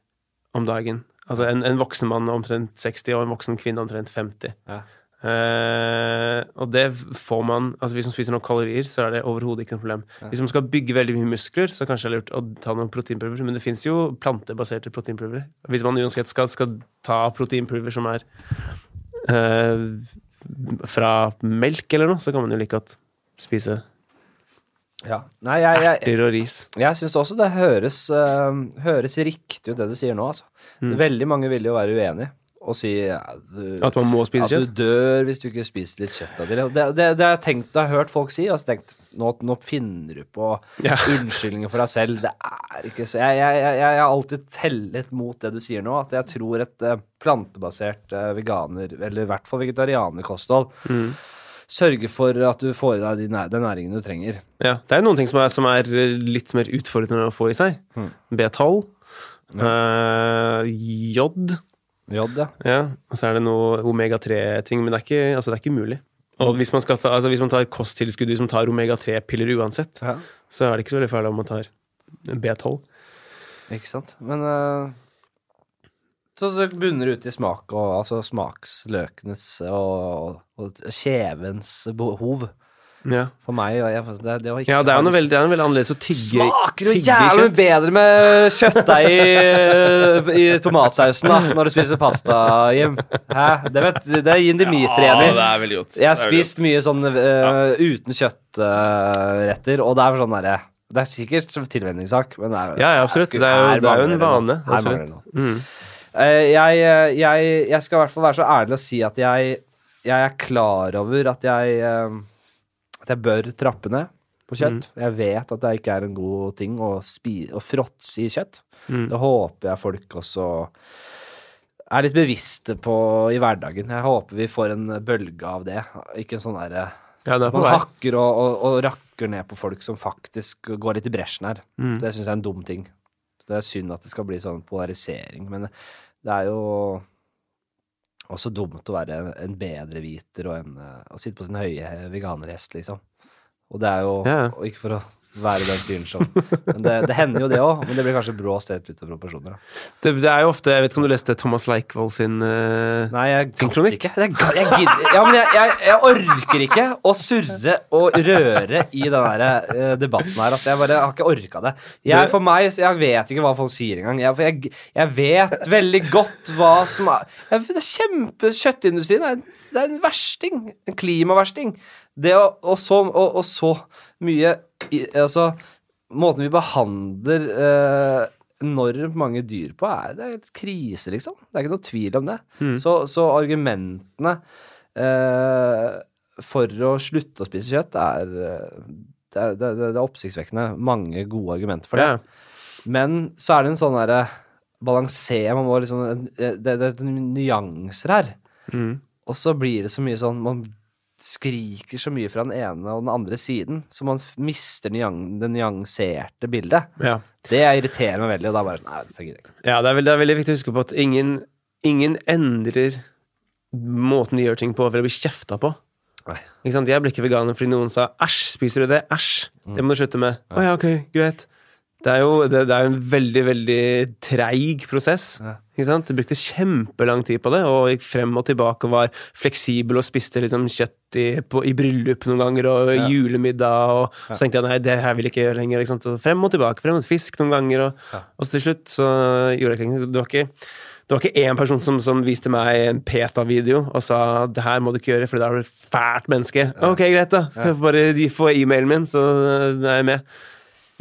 om dagen. Altså en, en voksen mann omtrent 60, og en voksen kvinne omtrent 50.
Ja.
Eh, og det får man Altså Hvis man spiser nok kalorier, så er det overhodet ikke noe problem. Hvis man skal bygge veldig mye muskler, så kanskje det er lurt å ta noen proteinpulver. Men det fins jo plantebaserte proteinpulver. Hvis man uansett skal, skal ta proteinpulver som er eh, fra melk eller noe, så kan man jo like godt spise
Ja. Nei, jeg, jeg,
erter og ris.
Jeg syns også det høres, eh, høres riktig ut, det du sier nå. Altså. Veldig mange vil jo være uenig og si ja, du,
At man må spise
at du
kjøtt?
dør hvis du ikke spiser litt kjøtt av det. Det, det, det har jeg tenkt, det har jeg hørt folk si, og så tenkt nå, nå finner du på
Ja.
unnskyldninger for deg selv. Det er ikke så Jeg, jeg, jeg, jeg har alltid tellet mot det du sier nå, at jeg tror et eh, plantebasert eh, veganer, eller i hvert fall vegetarianerkosthold,
Mm.
sørger for at du får i deg de næ- den næringen du trenger.
Ja. Det er jo noen ting som er, som er litt mer utfordrende å få i seg. B12. eh, jod.
Jod, ja.
Ja. Og så er det noe omega-3-ting, men det er, ikke, altså, det er ikke umulig. Og hvis man, skal ta, altså, hvis man tar kosttilskudd, hvis man tar omega-3-piller uansett,
ja.
så er det ikke så veldig farlig om man tar B12.
Ikke sant? Men eh, Så det bunner ut i smak og altså smaksløkenes og, og kjevens behov.
Ja,
For meg og jeg, det, det var ikke
ja det er jo noe veldig, det er noe veldig annerledes å tygge
Smaker jo
tygge
jævlig
kjøtt.
bedre med kjøttdeig i, i tomatsausen da, når du spiser pasta, Jim. Hæ? Det, vet, det er Jim Dimitri
Ja,
enig
det
i.
er veldig godt.
Jeg har
Det er veldig
spist
godt.
mye sånn eh, uten kjøttretter, og det er sånn derre Det er sikkert som tilvenningssak, men det er,
Ja, ja, absolutt.
sku-
Det er jo-
her
det er jo en
mangler
vane,
det noe. Her
absolutt. Mm.
mangler det noe. Eh, jeg, eh, jeg, jeg skal i hvert fall være så ærlig og si at jeg, jeg er klar over at jeg, eh, at jeg bør trappe ned på kjøtt.
Mm.
Jeg vet at det ikke er en god ting å, spi, å fråtse i kjøtt.
Mm.
Det håper jeg folk også er litt bevisste på i hverdagen. Jeg håper vi får en bølge av det. Ikke en sånn derre
Ja, det er
Man
på vei.
hakker og, og, og rakker ned på folk som faktisk går litt i bresjen her.
Mm.
Det syns jeg er en dum ting. Så Det er synd at det skal bli sånn polarisering, men det er jo Også dumt å være en, en bedreviter og en, eh, å sitte på sin høye veganerhest, liksom. Og det er jo
Ja.
Og ikke for å være den fyren som Men det, det hender jo, det òg. Men det blir kanskje brå stelt ut av proporsjoner. Da.
Det, det er jo ofte Jeg vet ikke om du leste Thomas Leikvoll sin eh,
Nei, jeg
Sin
gadd
kronikk?
ikke. Jeg, gadd- jeg gidder Ja, men jeg, jeg, jeg orker ikke å surre og røre i den der eh, debatten her. Altså, jeg bare har ikke orka det. Jeg, for meg, så jeg vet ikke hva folk sier engang. Jeg, for jeg, jeg vet veldig godt hva som er jeg, Det er kjempe Kjøttindustrien er, det er en versting. En klimaversting. Det å, og, så, og, og så mye i, Altså, måten vi behandler eh, enormt mange dyr på, er det er helt krise, liksom. Det er ikke noe tvil om det. Så, så argumentene eh, for å slutte å spise kjøtt er eh, det er, det, er, det er oppsiktsvekkende mange gode argumenter for det.
Ja.
Men så er det en sånn derre balanser Man må liksom Det, det det er nyanser her.
Mm.
Og så blir det så mye sånn Man skriker så mye fra den ene og den andre siden, så man f- mister nyan, det nyanserte bildet.
Ja.
Det irriterer meg veldig, og da bare sånn, Nei, dette gidder jeg ikke.
ja, det er, veldig, det er veldig viktig å huske på at ingen, ingen endrer måten de gjør ting på for å bli kjefta på.
Nei.
Ikke sant? Jeg ble ikke veganer fordi noen sa 'æsj, spiser du det?' 'Æsj, det må du slutte med'. Å ja, ok, greit. Det er jo det, det er en veldig, veldig treig prosess. Ikke sant? Jeg brukte kjempelang tid på det, og gikk frem og tilbake og var fleksibel og spiste liksom kjøtt i, på, i bryllup noen ganger og julemiddag, og så tenkte jeg nei, det her vil jeg ikke gjøre lenger. Ikke sant? Og frem og tilbake, frem og fisk noen ganger, og, og så til slutt så gjorde jeg ikke Det var ikke det var ikke én person som, som viste meg en PETA-video og sa det her må du ikke gjøre, for da er du et fælt menneske. Ok, greit, da. Skal jeg bare de få e-mailen min, så eh, er jeg med.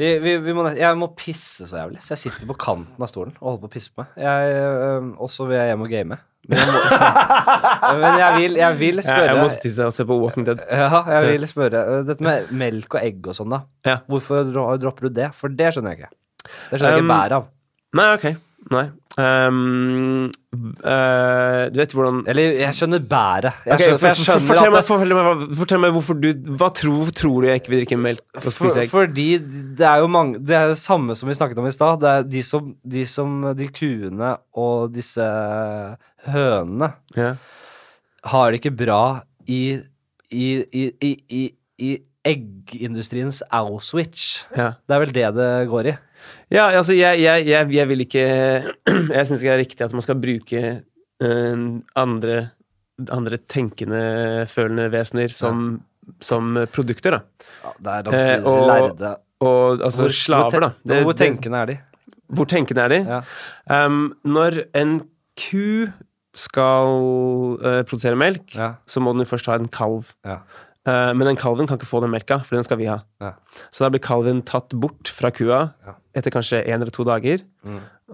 Vi, vi, vi må, nest- jeg må pisse så jævlig, så jeg sitter på kanten av stolen og holder på å pisse på meg. Jeg, øhm, og så vil jeg hjem og game. Men jeg, må, men jeg, vil, jeg vil
Jeg,
spørre
jeg må tisse og se på Walking Dead.
Ja, jeg vil spørre øh, Dette med melk og egg og sånn, da.
Ja.
Hvorfor dro- dropper du det? For det skjønner jeg ikke. Det skjønner jeg
Um,
ikke bæret av.
Nei, ok. Nei. Ehm, eh, du vet hvordan
Eller jeg skjønner bæret. Jeg
Ok,
skjønner, for jeg
for- for-
skjønner
fortell,
at
meg,
det-
fortell, meg, hva- fortell meg hvorfor du Hva tror, hvorfor tror du jeg ikke vil drikke melk og
For,
spise egg?
fordi det er jo mange Det er det samme som vi snakket om i stad. Det er de som, de som De kuene og disse eh, hønene
Ja.
har det ikke bra i i, i, i, i, i eggindustriens Auschwitz.
Ja.
Det er vel det det går i.
Ja, altså, jeg, jeg, jeg, jeg vil ikke Jeg syns ikke det er riktig at man skal bruke eh, andre, andre tenkende, følende vesener som, som produkter, da.
Ja, det er
Eh,
de som
og-
lærde
Og altså slaver, da.
Det,
Det-
hvor
det-
tenkende er de?
hvor tenkende er de?
Ja.
Um, når en ku skal eh, produsere melk,
Ja.
så må den jo først ha en kalv.
Ja.
Eh, men den kalven kan ikke få den melka, for den skal vi ha.
Ja.
Så da blir kalven tatt bort fra kua
Ja. Mm.
etter kanskje én eller to dager.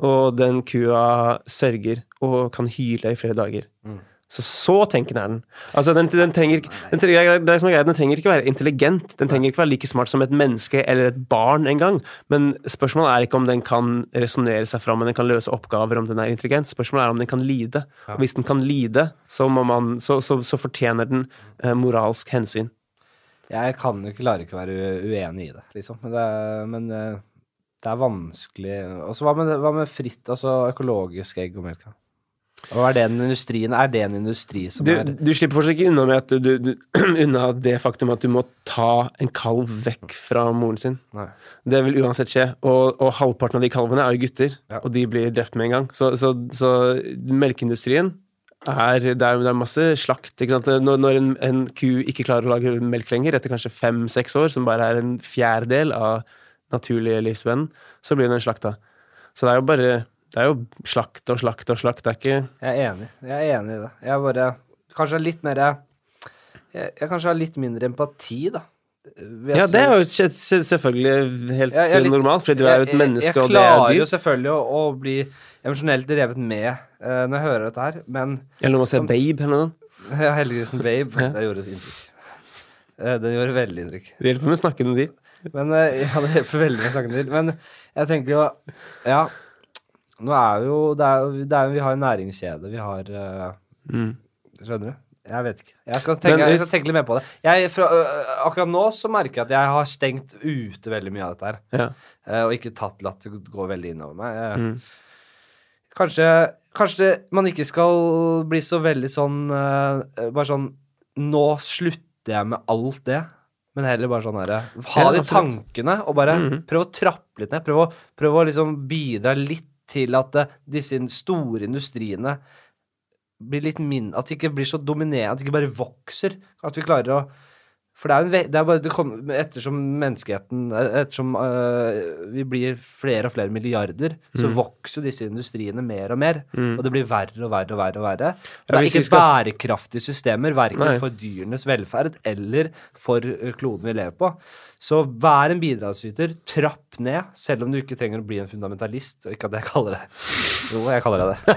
Og den kua sørger og kan hyle i flere dager.
Mm.
Så så tenkende er den. Altså, den, den trenger ikke den trenger, det er det som er greia, den trenger ikke være intelligent. Den trenger ikke være like smart som et menneske eller et barn engang. Men spørsmålet er ikke om den kan resonnere seg fram, men den kan løse oppgaver om den er intelligent. Spørsmålet er om den kan lide. Og hvis den kan lide, så, må man, så, så, så fortjener den eh, moralsk hensyn.
Jeg kan jo ikke klarer ikke å være u- uenig i det, liksom. Men det er, men eh, det er vanskelig. Og så hva, med- hva med fritt, altså økologisk egg og melk? da? Og er det en industrien, er det en industri som
Du,
er
du slipper fortsatt ikke unna, med at du, du, unna det faktum at du må ta en kalv vekk fra moren sin.
Nei.
Det vil uansett skje. Og, og halvparten av de kalvene er jo gutter,
Ja.
og de blir drept med en gang. Så, så, så melkeindustrien er, det, er, det er masse slakt. Ikke sant? Når, når en, en ku ikke klarer å lage melk lenger, etter kanskje fem-seks år, som bare er en fjerdedel av naturlige livsvennen, så blir den slakta. Så det er jo bare det er jo slakt og slakt og slakt. Det er ikke
Jeg er enig. Jeg er enig i det. Jeg bare Kanskje er litt mer jeg, jeg kanskje har litt mindre empati, da. Vet
Ja,
du-
det er jo se- se- selvfølgelig helt
Jeg- jeg er litt-
normalt, fordi du er jo et
jeg- jeg-
menneske, og det er
Jeg klarer jo
dyr.
selvfølgelig å, å bli emosjonelt revet med eh, når jeg hører dette her, men
Eller om man ser
Sånn.
Babe eller noe.
Ja, Helgegrisen Babe. Det gjorde inntrykk. Eh, Den gjorde veldig inntrykk.
Det hjelper med snakkende dyr.
Men eh, ja, det hjelper veldig med snakken til. Men jeg tenker jo Ja, nå er jo det er, jo- det er, jo- Vi har en næringskjede. Vi har eh,
Mm,
Skjønner du? Jeg vet ikke. Jeg skal tenke,
Men
jeg
hvis-
skal tenke litt mer på det. Jeg, fra, øh, akkurat nå så merker jeg at jeg har stengt ute veldig mye av dette her.
Ja.
Eh, og ikke tatt latt det gå veldig innover meg. Eh, Kanskje, Kanskje det, man ikke skal bli så veldig sånn eh, Bare sånn Nå slutter jeg med alt det. Men heller bare sånn herre Ha
Ja,
de
absolutt.
tankene, og bare
Mhm.
prøv å trappe litt ned. Prøv å, prøv å liksom bidra litt til at eh, disse store industriene blir litt min... At de ikke blir så dominerende, at de ikke bare vokser. At vi klarer å for det er jo en ve det er bare, det kommer- Ettersom menneskeheten Ettersom øh, vi blir flere og flere milliarder,
Mm.
så vokser jo disse industriene mer og mer. Og det blir verre og verre og verre. og verre. Så
Ja,
det er
hvis vi
ikke
skal-
bærekraftige systemer,
Nei.
verken for dyrenes velferd eller for øh, kloden vi lever på. Så vær en bidragsyter. Trapp ned, selv om du ikke trenger å bli en fundamentalist. Og ikke at jeg kaller det Jo, jeg kaller det det.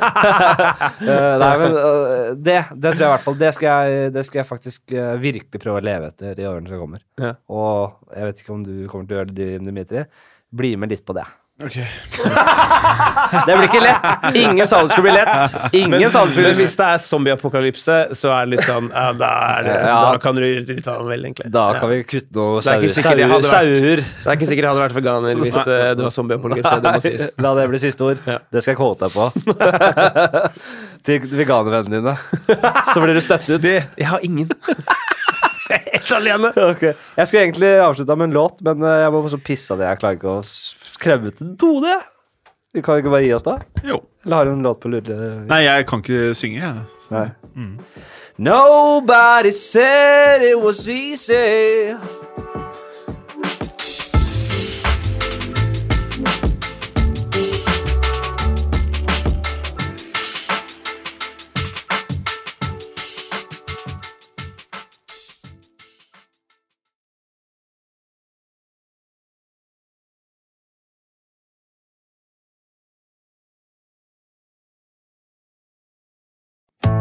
Eh, nei, men eh, det, det tror jeg i hvert fall. Det skal jeg, det skal jeg faktisk eh, virkelig prøve å leve etter i årene som kommer.
Ja.
Og jeg vet ikke om du kommer til å gjøre det, Dimitri. Bli med litt på det.
Ok.
Det blir ikke lett! Ingen sa det skulle bli lett. Ingen sa det skulle
Men
bli
hvis det er zombieapokalypse, så er det litt sånn ja, da, er det,
Ja.
da kan du ta den vel, egentlig.
Da kan vi kutte noe
Det er
sauer.
ikke sikkert det
Sauer.
hadde vært-
sauer.
Det er ikke sikkert jeg hadde vært veganer hvis eh, det var zombieapokalypse. Det må sies.
La det bli siste ord. Det skal jeg kåte deg på. Til veganervennene dine. Så blir du støtt ut.
Jeg har ingen. Helt alene.
Ok. Jeg skulle egentlig avslutta med en låt, men eh, jeg må få så pisse av det. Jeg klarer ikke å s- klemme til en tone. jeg. Vi kan jo ikke bare gi oss, da?
Jo.
Eller har du en låt på lure?
Nei, jeg kan ikke synge, jeg. Så.
Nei.
Mm.
Nobody said it was easy.